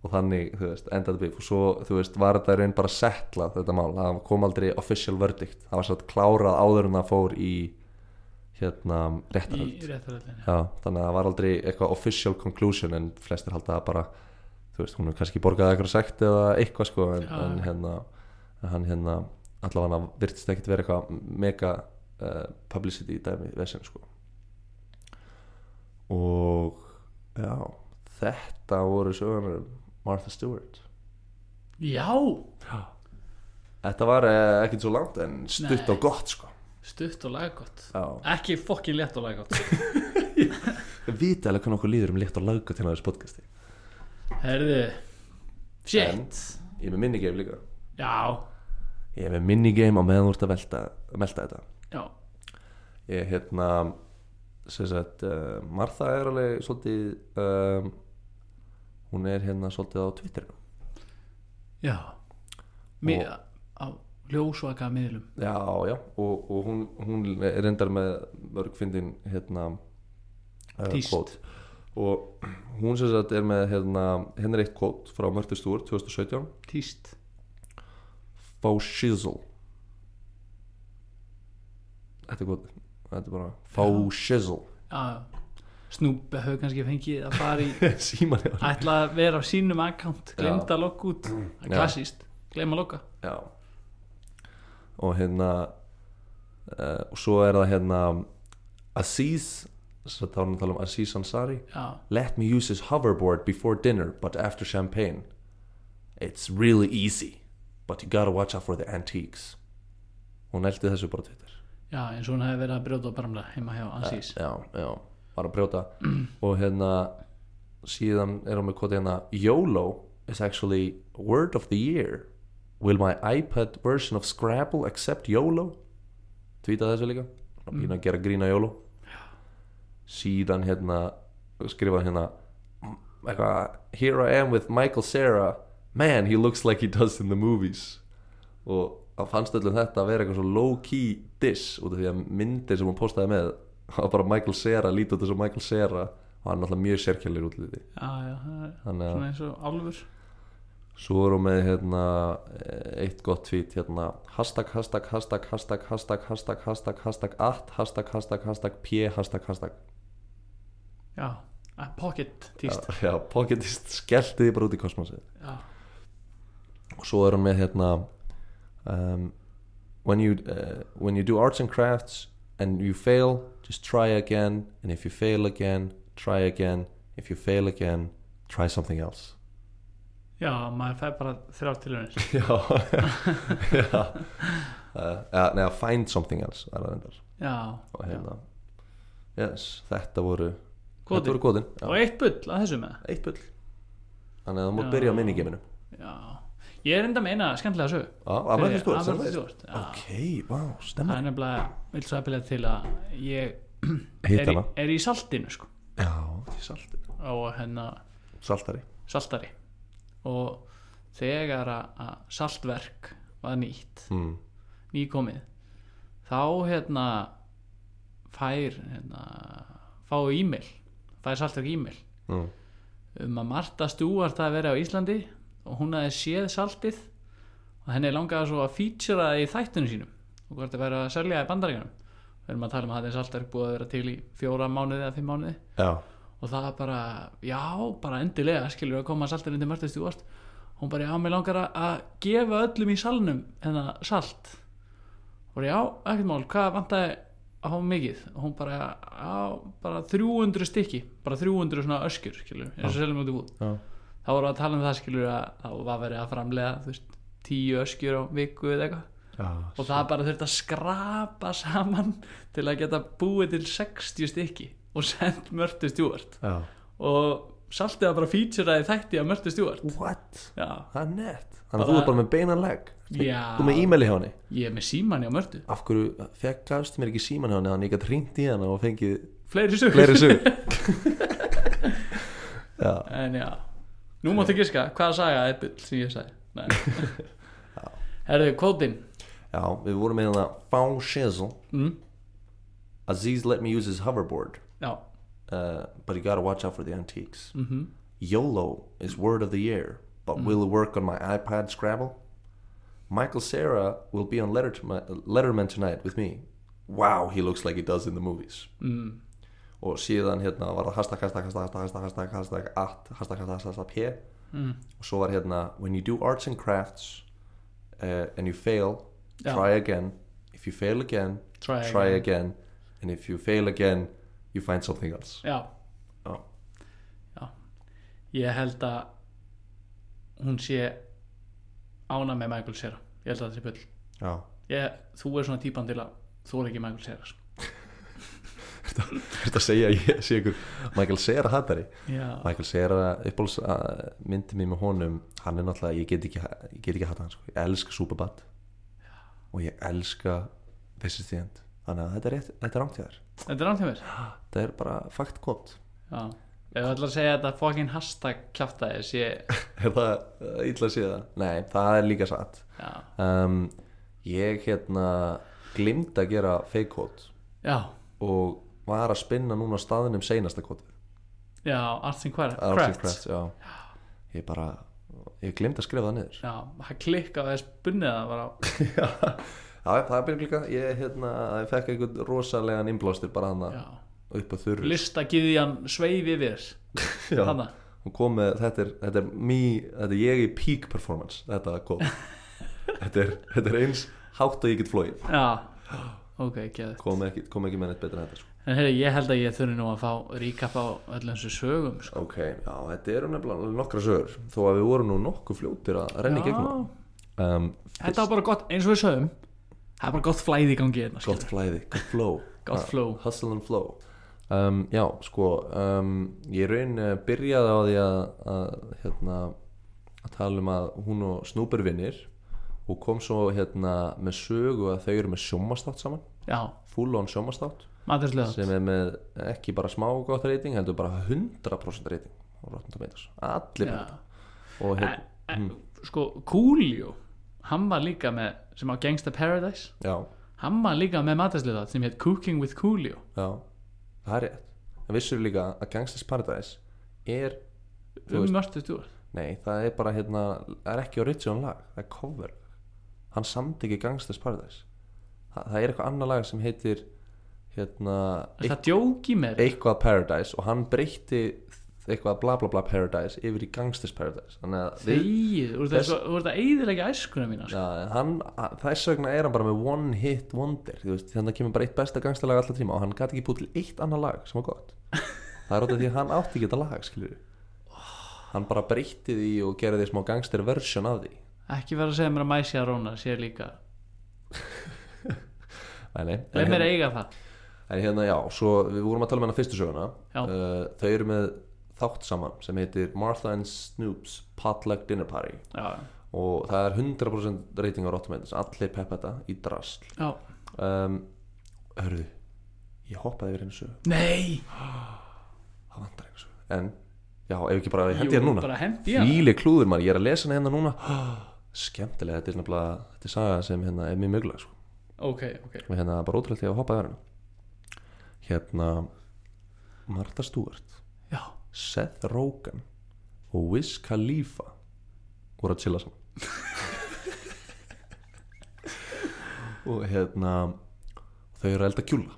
og þannig, þú veist, endaði bíf og svo, þú veist, var þetta í raun bara settlað þetta mál, það kom aldrei official verdict það var satt klárað áður en það fór í hérna
í
réttarhald
réttaröldinni
Já, þannig að það var aldrei eitthvað official conclusion en flestir halda það bara þú veist, hún hefur kannski borgaði eitthvað sagt eða eitthvað sko en,
Já.
en hérna en hann hérna allavega virtist ekkit vera eitthvað mega uh, publicity í dæmi vesen sko og já, þetta voru sögunar um Martha Stewart
Já,
Þetta var uh, ekkit svo langt en stutt
Nei.
og gott sko
stutt og laggott
Já,
Ekki fokkin létt og laggott
við vita alveg hvernig okkur líður um létt og laggott hérna á þessu podcasti
Herðu Shit
En- Ég er með minni geim líka
Já,
Ég er með minigame á meðan þú ert að velta, velta þetta
já,
Ég hérna sem sagt, uh, Martha er alveg svolítið um, hún er hérna svolítið á Twitterinu
já Mi
Og-
Á ljósvaka miðlum
Já, já, og, og hún, hún er reyndar með mörgfindin hérna uh,
Tíst.
quote. og hún sem sagt er með hérna, henni er eitt kvót frá Mörti Stúr 2017
Tíst
Faucizzle Þetta er kvót Þetta er bara Faucizzle
Já, Snoop hefur kannski fengið að fara í
Síman já
Ætla að vera á sínum akkant Glemd að logga út Það er
Mm, Já.
klassist, glem að logga
Já Og hérna uh, Og svo er það hérna Aziz Svo þá erum við að tala um Aziz Ansari
Já,
Let me use his hoverboard before dinner But after champagne It's really easy But you gotta watch out for the antiques Hún eldi þessu bara á Twitter
já, eins og hún hefði verið að brjóta og bramla heima hjá Ansís
Já, já, bara að brjóta Og hérna Síðan er hún með koti hérna YOLO is actually word of the year Will my iPad version of Scrabble accept YOLO? Tweetað þessu líka Svona Pínu að gera grína YOLO Síðan hérna Skrifað hérna m- eitthvað, Here I am with Michael Cera Man, he looks like he does in the movies og hann fannst öllum þetta að vera eitthvað svo low key diss út af því að myndir sem hún postaði með það var bara Michael Cera, lítið út þessu Michael Cera og hann er náttúrulega mjög sérkjælir útliti
Já, já, það er
þannig að
svona eins og álfur
svo erum með hérna eitt gott tweet hérna hashtag, hashtag, hashtag, hashtag, hashtag, hashtag, hashtag, hashtag, at, hashtag, hashtag, hashtag, p, hashtag, hashtag
Já, að pocket tíst
Já, já, pocketist skellti því bara út í kosmosið
Já,
og svo er hann með hérna um, when, you, uh, when you do arts and crafts and you fail, just try again and if you fail again, try again if you fail again, try something else
já maður fær bara þrjá tilhörnir
já já uh, eða- neða find something else er það reyndar
Já,
og
já.
hérna yes, þetta voru
Kvotin.
þetta voru kvotin
og
já.
eitt bull að þessu með
eitt bull þannig að það
Já.
múið byrja á minnigeiminu
Já, ég er enda að meina skemmtilega sög
að maður stúr, sem veist
stjórn
ok, vá,
Það
stemma
er nefnilega, vil svo efilega til að ég
hitt
er í,
hana
er í saltinu sko
já, því salti
og hérna
saltari
saltari og þegar að að saltverk var nýtt,
mm.
nýkomið þá hérna fær hérna, fá e-mail, fær saltverk e-mail
Mm.
um að Marta Stewart að vera á Íslandi og hún aðeins séð saltið og henni langaði svo að featura það í þættunum sínum og hvort það væri að selja það í bandaríkanum við erum að tala um að þetta salt er búið að vera til í fjóra mánuði eða fimm mánuði
Já,
og það bara, já, bara endilega skilur að koma saltir undir Marta Stewart hún bara, já, mér langar að- að gefa öllum í salnum hennar salt og já, ekkert mál, hvað vantaði að hafa mikið og hún bara, já, bara 300 stykki bara 300 svona öskjur, skilur eins og seljum út í búð
já,
þá vorum við að tala um það skilur að þá var verið að framlega þú veist, tíu öskjur á viku eða eitthvað
já
og það bara þurfti að skrapa saman til að geta búið til 60 stykki og sendt Mörtu Stjúart
já.
og saltið að bara featureaði þætti af Mörtu Stjúart
What?
já,
Það er nett Þannig að
Bara-
þú er bara með beinan legg
Já.
Þú með e-maili hjá henni
ég er með síman hjá Mörtu
Af hverju fekk gafst mér ekki síman hjá henni Þannig að ég gætt hringt í hana og fengið
fleiri sögur
fleiri sög Já,
en já, nú máttu giska hvað saga er bull sem ég sagði Nei. herðu, kvótinn
já, við vorum með hérna Fá shizzle
mm,
Aziz let me use his hoverboard
já,
uh, But you gotta watch out for the antiques
mhm
YOLO is word of the year But
Mm.
will it work on my iPad Scrabble? Michael Cera will be on Letter- Letterman tonight with me wow, he looks like he does in the movies
mm,
og síðan hérna var það hashtag, hashtag, hashtag, hashtag, hashtag, hashtag, at, hashtag, hashtag, hashtag, p
mm.
og svo var hérna when you do arts and crafts uh, and you fail,
Já.
try again if you fail again,
Try
try
again.
again and if you fail again you find something else
Já
Já.
Já. Ég held að hún sé ána með Michael Cera Ég held að það sé bull
já,
ég, Þú er svona típan til að þú er ekki Michael Cera sko.
þetta segja að ég sé ykkur Michael Cera hattari
Já,
Michael Cera, uppáls uh, myndi mér með honum, hann er náttúrulega ég get ekki, ég get ekki hatt hann sko. ég elska Superbad og ég elska This is the end þannig að þetta er, rétt, þetta er rangt hjá þér
þetta er án þeimur
þetta er bara fakt gott
Já, ég ætla að segja að þetta fokkin hashtag kjaftaði sé
er það uh, illa að sé það? Nei, það er líka satt
Já,
um, ég hérna glimt að gera fake kót
já,
og var að spinna núna á staðinum seinasta kótið
já arts and crafts,
Arts and
crafts.
Crafts, já. ég bara, ég glimt að skrifa það niður
Já, það klikkaði þess bunnið það bara
já, já, það er byrjum líka ég, hérna, ég fekk einhvern rosalegan innblástur bara hann
Já,
upp á þurru
listagiðjan sveifi við þess
Já.
Hanna,
hún kom með, þetta er, þetta er mý, þetta er ég í peak performance þetta kom þetta, er, þetta er eins hátt og ég get flóið
já, ok, geðið
kom ekki, kom ekki með neitt betra en þetta sko.
En heyrðu, ég held að ég þurfi nú að fá ríkap á öllum þessu sögum sko.
ok, já, þetta eru nefnilega nokkra sögur þó að við vorum nú nokkuð fljótir að renna í gegnum það. um,
Þetta var bara gott, eins og við sögum Það er bara gott flæði í gangi hérna
gott flæði, gott flow
Gott
Ah,
flow.
hustle and flow um, já, sko um, ég raun eh, byrjaði á því að, að hérna að tala um að hún og Snúber vinnir og kom svo hérna með sögu að þau eru með sjómastátt saman
Já,
full on sjómastátt
maturslega
sem er með ekki bara smá gott reyting heldur bara 100% reyting á Rotten Tomatoes, allir
Já.
ja. og hérna,
En, Sko, Coolio Hann var líka með, sem á Gangsta Paradise
já,
Hann var líka með maturslega sem hétt Cooking with Coolio
já það er rétt en vissur líka að Gangsters Paradise er Þú
Um
veist-
mörtu stúr
Nei, það er bara hérna Það er ekki original lag, það er cover Hann samt ekki Gangsters Paradise Þa, Það er eitthvað annað lag sem heitir Hérna
Það djóki mér
Eitthvað Paradise og hann breytti Eitthvað bla bla bla Paradise Yfir í Gangsters Paradise Þannig að við,
Þegið, þú
Þess-
ert að eyðilega æskuna mína sko.
ja, hann, að- þess vegna er hann bara með one hit wonder þú veist, Þannig að kemur bara eitt besta gangsterlag alltaf tíma Og hann gæti ekki búið til eitt annað lag sem var gott Það er út af því að hann átti ekki þetta lag skilur Hann bara breytti því og gerði smá gangster version af því
Ekki vera að segja mér að Mæsja Róna sé líka
Nei, nei. En
Leif mér
hérna-
eiga það
En hérna já, svo við vorum að tala með hana fyrstu söguna
Já.
uh, Þau eru með þátt saman sem heitir Martha and Snoop's Potluck Dinner Party
Já,
og það er 100% reyting á Rottmætis allir peppa þetta í drasl
já
um, Hörðu, ég hoppaði yfir einu sögu
Nei
það vantar einu sögu En, já, ef ekki bara hendi hérna núna
bara hendi hérna
Fíli klúður mann, ég er að lesa hana hérna núna Skemmtilega, þetta er nefnilega þetta er saga sem hérna er mjög mögulega sko.
Ok, ok
og hérna bara ótrúlega þegar að hoppaði yfir hana Hérna Martha Stewart
Já,
Seth Rogen og Wiz Khalifa voru að chilla saman og hérna þau eru að elda kjúla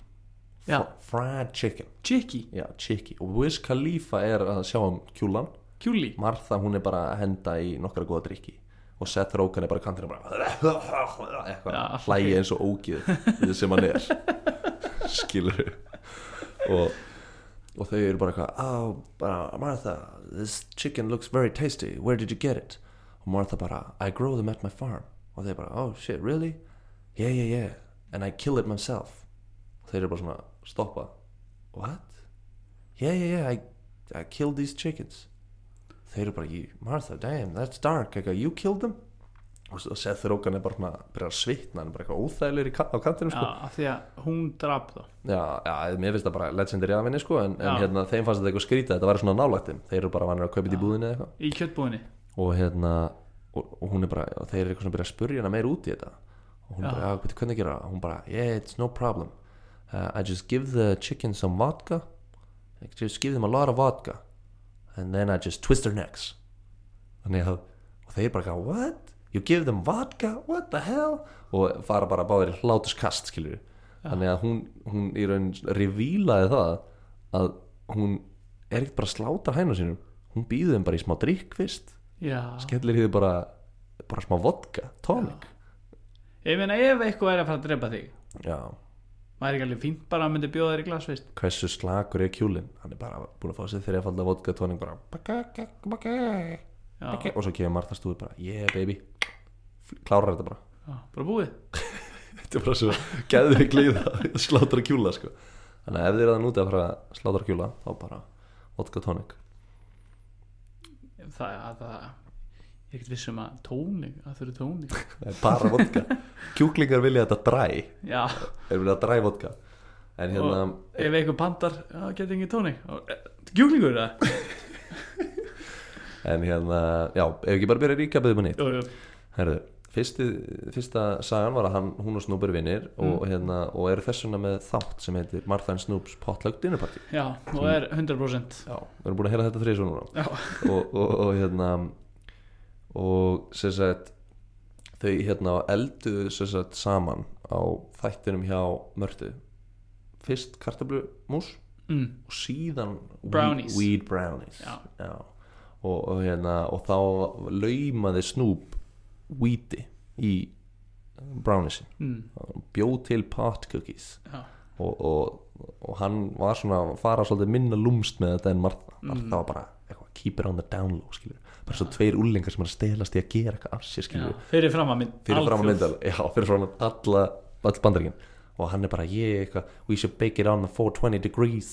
já
fried chicken
Chicky,
já, chicky og Wiz Khalifa er að sjá um kjúlan
kjúli
Martha hún er bara að henda í nokkra góða drikki og Seth Rogen er bara kantir bara
Já,
eitthvað
allt
hlægi eins og ógið þetta sem hann er skilur og, og þau eru bara eitthvað oh, bara, Martha, this chicken looks very tasty where did you get it og Martha bara, I grow them at my farm og þau bara, oh shit, really yeah, yeah, yeah, and I kill it myself og þau eru bara svona, stoppa what? yeah, yeah, yeah, I, I killed these chickens þeir eru bara, "You- Martha, damn, that's dark eitthvað, you killed them og s- og Seth Rogen er bara svona, byrjar að svitna hann er bara eitthvað óþægilegur í ka- á kantinum
Já,
sko.
af því að hún draf þá
já, já, mér finnst það bara legendary aðvinni sko, en, en
Já.
hérna, þeim fannst þetta eitthvað skrítið þetta var svona nálægtum, þeir eru bara vanir að kaupa þetta í búðinni eða eitthvað
Í kjötbúinni
og hérna og, og hún er bara, og þeir eru eitthvað svona að byrja að spurja hana meir út í þetta og hún
Já.
bara, já, veitir hvernig gera það hún bara, yeah, it's no problem uh, I just give the chicken some vodka I just give them a lot of vodka and then I just twist their necks þannig að og þeir bara, eitthvað, what? You give them vodka? What the hell? og fara bara báðir í hlátuskast, skilur þannig að hún, hún í raun revílaði það að hún er ekkert bara að slátra hæna sínum hún býður þeim bara í smá drikk fyrst
Já.
skellir hér bara, bara smá vodka, tónik
Ég meina ef eitthvað er að fara að drepa þig
já.
væri ekki alveg fínt bara að myndi bjóða þér í glas veist
hversu slakur er kjúlin hann er bara búin að fá sér þegar að falda vodka tónik bara baka, baka,
Já,
baka. og svo kemur Martha stúður bara yeah baby klárar þetta bara
já, bara búið
þetta er bara svo gæður við glíða að slátra kjúla sko. þannig að ef þið eru að núti að fara að slátra kjúla þá bara vodka tónik
Það er að það Ég er ekkert viss um að tóning, að þau eru tóning
bara vodka kjúklingar vilja þetta dræ
Já,
er vilja að dræ vodka en hérna
og ef eitthvað bandar Já, geti engin tóning Og, eh, Gjúklingur það?
en hérna já ef ekki bara byrja að ríka byggðum að nýtt
Jú, jú,
herðu fyrsti, fyrsta sagan var að hann, hún og Snoop eru vinnir og hérna og eru þess vegna með þátt sem heitir Martha and Snoop's Potluck Dinner Party
já, og er 100%
já við erum búin að heyra þetta þrið núna
Já,
og, og, og hérna og sem sagt þau hérna elduðu sem sagt saman á þættinum hjá Mörtu fyrst kartablumús
mm,
og síðan weed-
Brownies.
weed brownies
Já.
Og, og hérna og þá laumaði Snoop weedi í eh, browniesin
mm,
bjóð til pot cookies
já
og, og, og hann var svona að fara svolítið minna lúmst með þetta en Martha
Mm.
Martha var bara eitthvað, keep it on the down low skilur. bara svo tveir úlingar sem er að stelast í að gera eitthvað af sér
Já,
skilur.
fyrir fram að mynd
fyrir fram að
alþjóð.
mynda já, fyrir fram að alla, all bandaríkin og hann er bara, ég eitthvað, we should bake it on the 420 degrees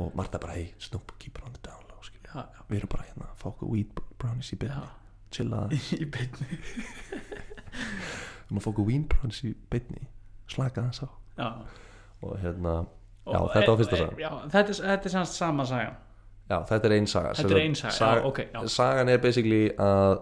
og Martha bara, hey, Snoop, keep it on the down low skilur.
Já, já,
við erum bara hérna, fá okkur weed brownies í byrni
Já.
chilla, við
í beinni
erum að fá okkur weed brownies í byrni slaka þess á
Já,
og hérna, já,
Og-
þetta var
e-
fyrsta sagan
Já, þetta er, þetta er sannst sama sagan
Já, þetta er einn saga
Þetta
Sem
er ein saga, já, ok, já.
Sagan er basically að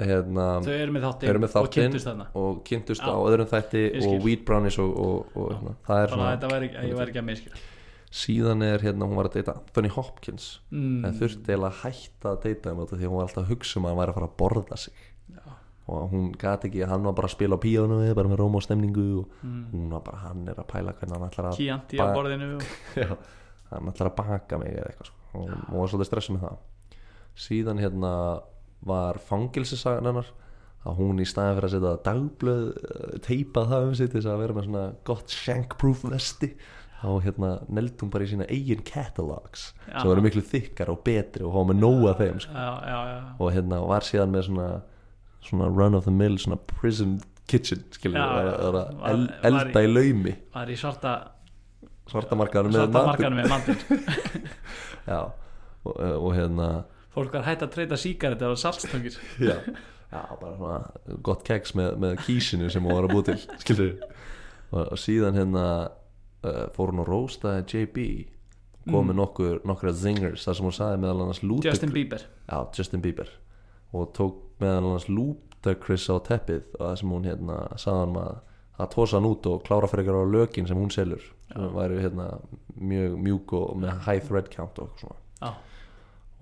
hérna,
Þau eru með þáttinn
þau eru með
og
þáttinn
kynntust þarna
og kynntust
Já.
á öðrum þætti
Ég skil.
og Wheat Brownies og, og, og hérna, það er
Þannig að
svona,
þetta var ekki, ég var ekki að miskja
síðan er hérna hún var að deyta Anthony Hopkins
Mm.
en þurfti eiginlega að hætta að deyta um þetta því að hún var alltaf að hugsa um að hann væri að fara að borða sig
Já.
og hún gat ekki, hann var bara að spila á píónu bara með róm og stemningu og
Mm.
hún var bara, hann er að pæla hvernig hann ætlar að
Kíanti á
Ba-
borðinu og-
Já, hann ætlar að baka mig eða eitthvað sko. og hún var svolítið stressað með það síðan hérna var fangilsisagan hennar að hún í staðin fyrir að setja dagblöð eh, teipa það um sig til þess að vera með svona gott shankproof vesti og hérna neldi hún bara í sína eigin catalogs
Já.
sem eru miklu þykkar og betri og hafa með nóga þeim sko.
Já, já, já
og hérna var síðan með svona, svona run of the mill svona prison kitchen skilur,
Já,
að, að,
var-
el,
var í-
elda í laumi
Var í svarta,
svartamarkaðanum með
svarta
matinn.
markanum með mandin
já, og, og hérna
Fólk var hægt að treyta síkaret eða saltstungir
já, já, bara svona gott keks með, með kísinu sem hún var að búa til skilur og, og síðan hérna uh, fór hún að rósta JB kom með nokkur, nokkra zingers þar sem hún sagði meðal annars
Justin
Ludacris
Bieber
já, Justin Bieber og tók meðal annars Ludacris á teppið og það sem hún hérna sagði hann að að tósa hann út og klára fyrir ykkur á lökin sem hún selur sem væri hérna mjög mjúk og með high thread count og eitthvað svona
Já,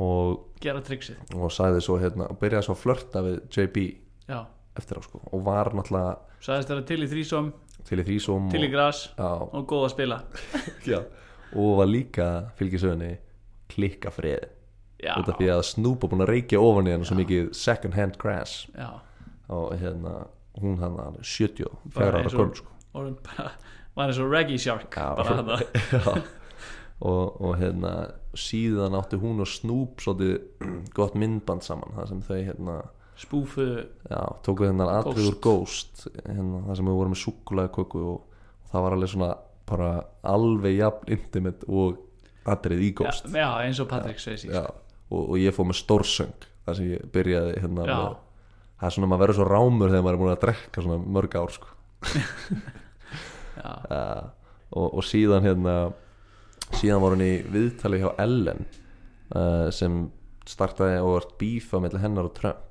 og
gera tryggsið
og sagði svo hérna og byrjaði svo að flörta við JB
Já,
eftir á sko og var náttúrulega
sagðist þeirra til í þrísom,
til í þrísóm
til í
og,
gras
já,
og góð að spila
já, og var líka fylgisöðinni klikka frið
Já,
út af því að Snoop var búin að reykja ofan í hann svo mikið second hand crash
já
og hérna hún hann hann er 70
Bara
færa ára
eins og-
gömul sko
Og hún bara, var eins og Reggie Shark
Já.
Bara hann
Já. og, og hérna síðan átti hún og Snoop svolítið gott myndband saman þar sem þau hérna
spúfu
Já, tóku þennan atrið úr Ghost hérna, það sem við vorum með súkulega köku og, og það var alveg svona bara alveg jafn intimate og atrið í
já,
Ghost
já, eins og Patrick Swayze
Já, og, og ég fór með stórsöng þar sem ég byrjaði hérna
Já.
með, það er svona maður verður svo rámur þegar maður er búin að drekka svona mörg ár sko.
Já.
uh, og, og síðan hérna síðan var hún í viðtali hjá Ellen uh, sem startaði og var bífa mellir hennar og Trump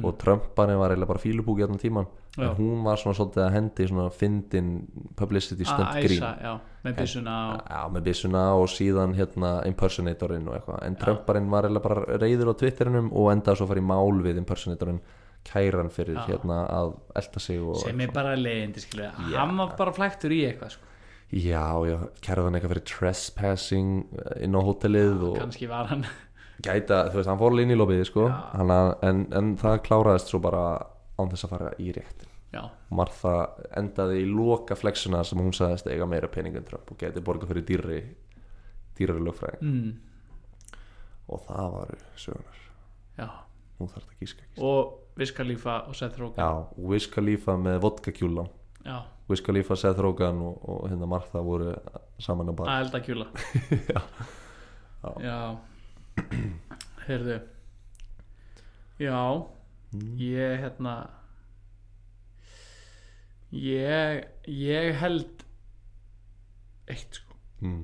og Trump bara var eiginlega bara fílubúk í allan tíman
Mm. Já.
en hún var svona svolítið að hendi í svona fyndin publicity
Að
stunt grín
æsa, já, með byssuna og
Já, með byssuna og síðan hérna impersonatorinn og eitthvað en Trumparinn var eiginlega bara reyður á Twitterinum og endaði svo að fara í mál við impersonatorinn kæran fyrir hérna að elta sig og
sem er bara leiðindi skilja hann var bara flæktur í eitthvað sko.
já, já, kærðan eitthvað fyrir trespassing eh, inn á hótelið og
kannski var hann
gæta, þú veist, hann fór alveg inn í lobbyið sko,
Já.
Hann að- en, en það kláraðist svo bara án þess að fara í rétt
já,
Martha endaði í loka flexuna sem hún sagðist eiga meira pening en Trump og gæti borga fyrir dýrri dýrari lögfræðing
mm,
og það varu sögunar
já.
nú þarf þetta að gíska ekki
og Viskalífa og Seth Rogen
já, Wiz Khalifa með vodka kjúlan
já,
Wiz Khalifa, Seth Rogen og, og hérna Martha voru saman á bar
að elda kjúla
Já.
já heyrðu já
Mm.
ég hérna ég ég held eitt sko
mm.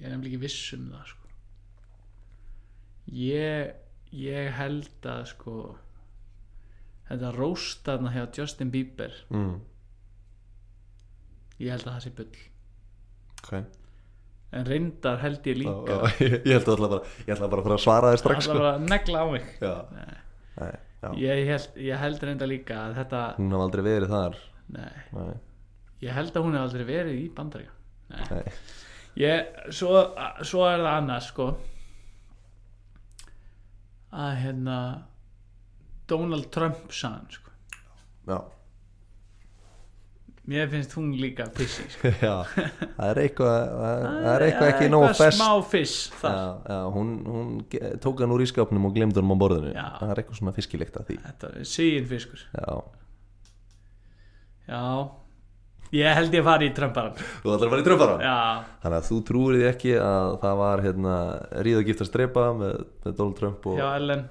ég er nefnilega ekki viss um það sko. ég ég held að sko þetta róstaðna hjá Justin Bieber
Mm.
ég held að það sé bull
ok
en reyndar held
Já,
ég líka
já, ég, ég held að ætla bara, ég ætla bara að fara að svara þér strax
það
sko.
var að negla á mig
já. Nei, já.
ég held, ég held reyndar líka að þetta
hún hafði aldrei verið þar
nei,
Nei.
ég held að hún hef aldrei verið í bandaríka nei.
Nei.
Ég, svo, svo er það annað sko að hérna Donald Trump sann sko
já.
Mér finnst hún líka pissi sko.
já það er eitthvað það það er eitthvað ekki nógu fest
Smá fiss þar
já, já, hún, hún ge- tók hann úr ískapnum og glemd hann á borðinu
Já.
það er eitthvað svona fiskilegt að því
Þetta er síðin fiskur
já.
Já Ég held ég fari í trömbaran
þú ætlar að fara í tröfara
Já,
þannig að þú trúir því ekki að það var hérna, ríða giftast drepa með, með Donald Trump og
já Ellen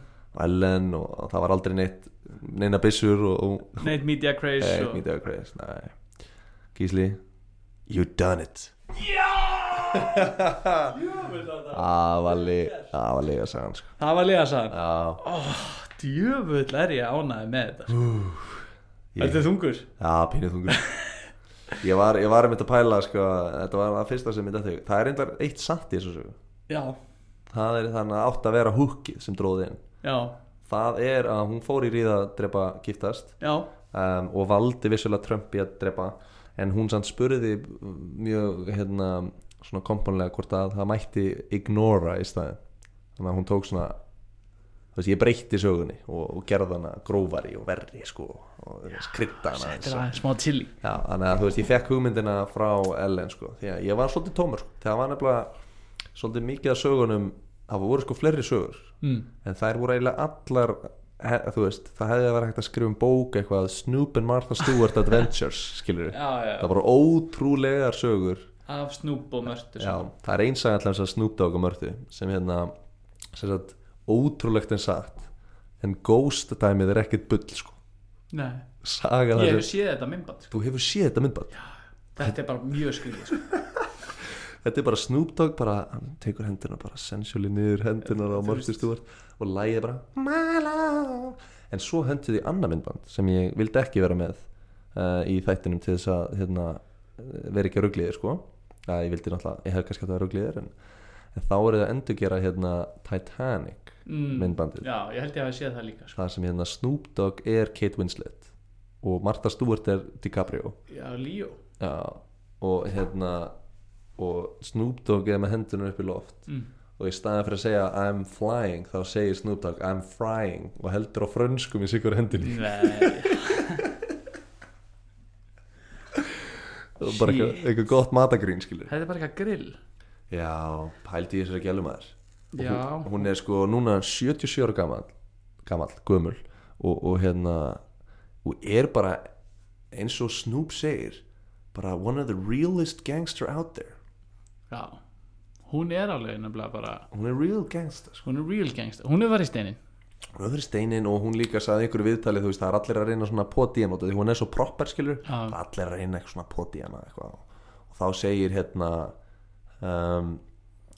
Ellen og það var aldrei neitt neina byssur og, og
Nate Media Craze
Hey,
og...
me too, Chris. Nei. Gísli You done it Afali Afali að sagði hann sko.
Það var líka sann
Já,
Djöfull er ég ánæði með þetta sko.
ég-
Þetta er þungur
Já, pínu þungur Ég var, ég var einmitt að pæla sko, Þetta var það fyrsta sem ég dætti Það er reyndar eitt satt í þessu sögu.
Já,
Það er þannig að átt að vera húkið sem dróði inn
já,
Það er að hún fór í ríða að drepa giftast
já
um, og valdi vissulega Trump í að drepa en hún samt spurði mjög hérna svona komponlega hvort að það mætti ignora í staðin þannig að hún tók svona þú veist ég breytti sögunni og, og gerði hana grófari og verri sko og skritta hana
Þetta
aðeins.
er aðeins smá chili
Já, þannig að þú veist ég fekk hugmyndina frá Ellen sko því að ég var svolítið tómur sko það var nefnilega svolítið mikið að sögunum það voru sko fleiri sögur
mm.
en þær voru eiginlega allar he, þú veist, það hefði verið hægt að skrifa um bók eitthvað Snoop and Martha Stewart Adventures skilur við,
Já, já
það voru ótrúlegar sögur
Af snúb og mörtu sko.
já, það er einsaga allan þess að Snoop Dogg og Mörðu sem hérna, sem sagt ótrúlegt en sagt en ghost dæmið er ekkert bull sko
Nei,
saga
ég
það
hef séð þetta minnband sko.
þú hefur séð þetta myndband,
Þetta er bara mjög skriðið sko.
þetta er bara Snoop Dogg bara, hann tekur hendina bara sensually niður hendina á Mörðu Stewart og lægið bara "My love." en svo hendiði annað myndband sem ég vildi ekki vera með uh, í þættinum til þess að hérna, eh, vera ekki að rugliðir sko ja, ég vildi náttúrulega, ég hef kannski að það rugliðir en, en þá er það að endurgera hérna, Titanic
mm.
myndbandið
Já, ég held ég hafi séð það líka sko.
það sem hérna, Snoop Dogg er Kate Winslet og Martha Stewart er DiCaprio
Já, Líó
Já, og hérna og Snoop Dogg er með hendunum upp í loft
Mm.
og í staðan fyrir að segja I'm flying þá segir Snoop Dogg I'm frying og heldur á frönskum í sigur hendinni
Nei,
og bara eitthvað,
Shit.
eitthvað gott matagrín skilur
þetta er bara eitthvað grill
já, pældi ég þessari gælum aður
Já,
hún, hún er sko núna 77 ára gamall gamall, gömul og, og hérna og er bara eins og Snoop segir bara one of the realest gangster out there
já Hún er alveg nefnilega bara
hún er real gangster sko.
Hún er real gangster, hún er var í steinin
hún er fyrir steinin og hún líka sagði ykkur viðtalið þú veist það er allir að reyna svona poti hana því hún er svo proper skilur
Já.
Það er allir að reyna eitthvað svona poti hana eitthvað. og þá segir hérna um,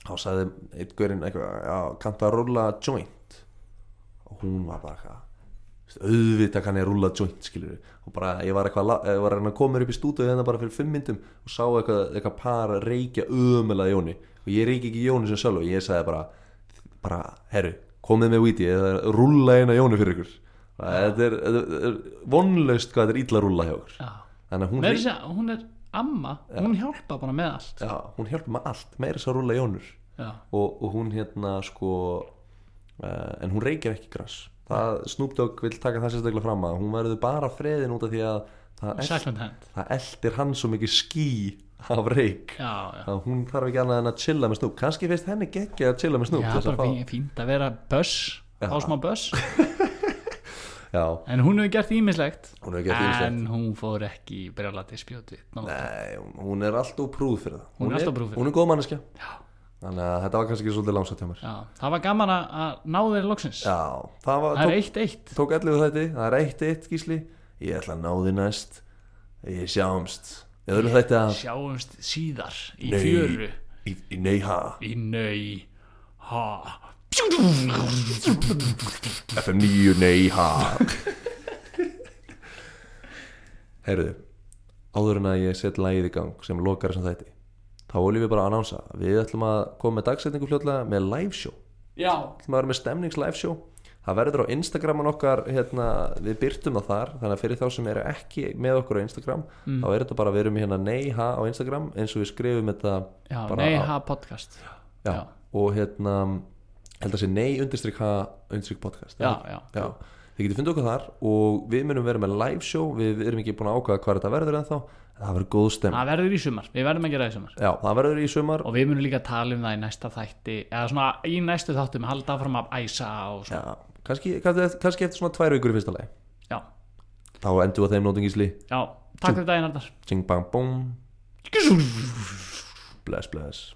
þá sagði einn gaurinn eitthvað já, kanntu að rúlla joint og hún var bara eitthvað þú veist, auðvitað kann ég að rúlla joint skilur og bara ég var eitthvað la- ég var að reyna að koma mér upp í stúdíu hérna bara fyrir fimm myndum og sá eitthvað, eitthvað par reykja ömulega í Jóni og ég reykja ekki í Jóni sem sjálf og ég sagði bara bara, herru, komið með víti eða rúlla eina Jóni fyrir ykkur Það- þetta er, þetta er vonlaust hvað þetta er illa að rúlla hjá ykkur
Já,
þannig að hún
Meira að segja, hún er amma,
Já.
hún hjálpa bara með allt
já, hún hjálpa með allt, meira þess að rúla Jónur
já,
og, og hún hérna sko uh, en hún reykir ekki gras það, Snoop Dogg vil taka það sérstaklega fram að hún verður bara freðin út af því að það, elt,
second hand
það eldir hann svo mikið ský af reyk
já, já,
að hún þarf ekki annað en að chilla með Snoop kannski finnst henni geggja að chilla með Snoop
já
til þess
bara
að fá-
fínt, fínt að vera buss
Já.
fá smá buss,
já,
en hún hefur gert ímislegt
hún er ekki að fyrir
en hún fór ekki í brjálati spjóti já,
Nei, hún er alltaf prúð fyrir það
Hún er alltaf prúð fyrir
Hún er góð manneskja Þannig að þetta var kannski svolítið langsat hjá mér
það var gaman að- að ná þeir loksins
Já, það var,
það er
tók,
eitt eitt
tók elluðu þætti Það er eitt eitt gísli Ég ætla að ná því næst Ég sjáumst Ég öðru þætti að
sjáumst síðar í
Nei.
fjöru
Í, í nei ha
í nöy ha
FM 9 nei ha Heyrðu Áður en að ég set lagið í gang sem lokar þessum þætti Þá viljum við bara að annánsa Við ætlum að koma með dagsetningu fljótlega með live show
já,
ætlum að vera með stemnings live show það verður á Instagraman okkar hérna, við byrtum það þar, þannig að fyrir þá sem eru ekki með okkur á Instagram
Mm.
þá er þetta bara að vera með hérna neyha á Instagram eins og við skrifum þetta
já
bara
nei
á-
ha podcast
já,
já.
og hérna held að sé nei undirstrykk ha undirstrykk podcast
já,
er það
já,
ekki? já. Þið getið fundið okkur þar og við munum vera með live show, við erum ekki búin að ákvaða hvað þetta verður ennþá, en það verður góð stemning.
það verður í sumar, við verðum að gera það í sumar
Já, það verður í sumar
og við munum líka tala um það í næsta þætti eða svona í næstu þáttum halda áfram að æsa og
Já,
svona
kannski, kannski, kannski eftir svona tvær vikur í fyrsta lagi.
já,
Þá endur við á þeim nótingisli.
já, takk fyrir daginn Arnar
Ching bang boom. Bless bless.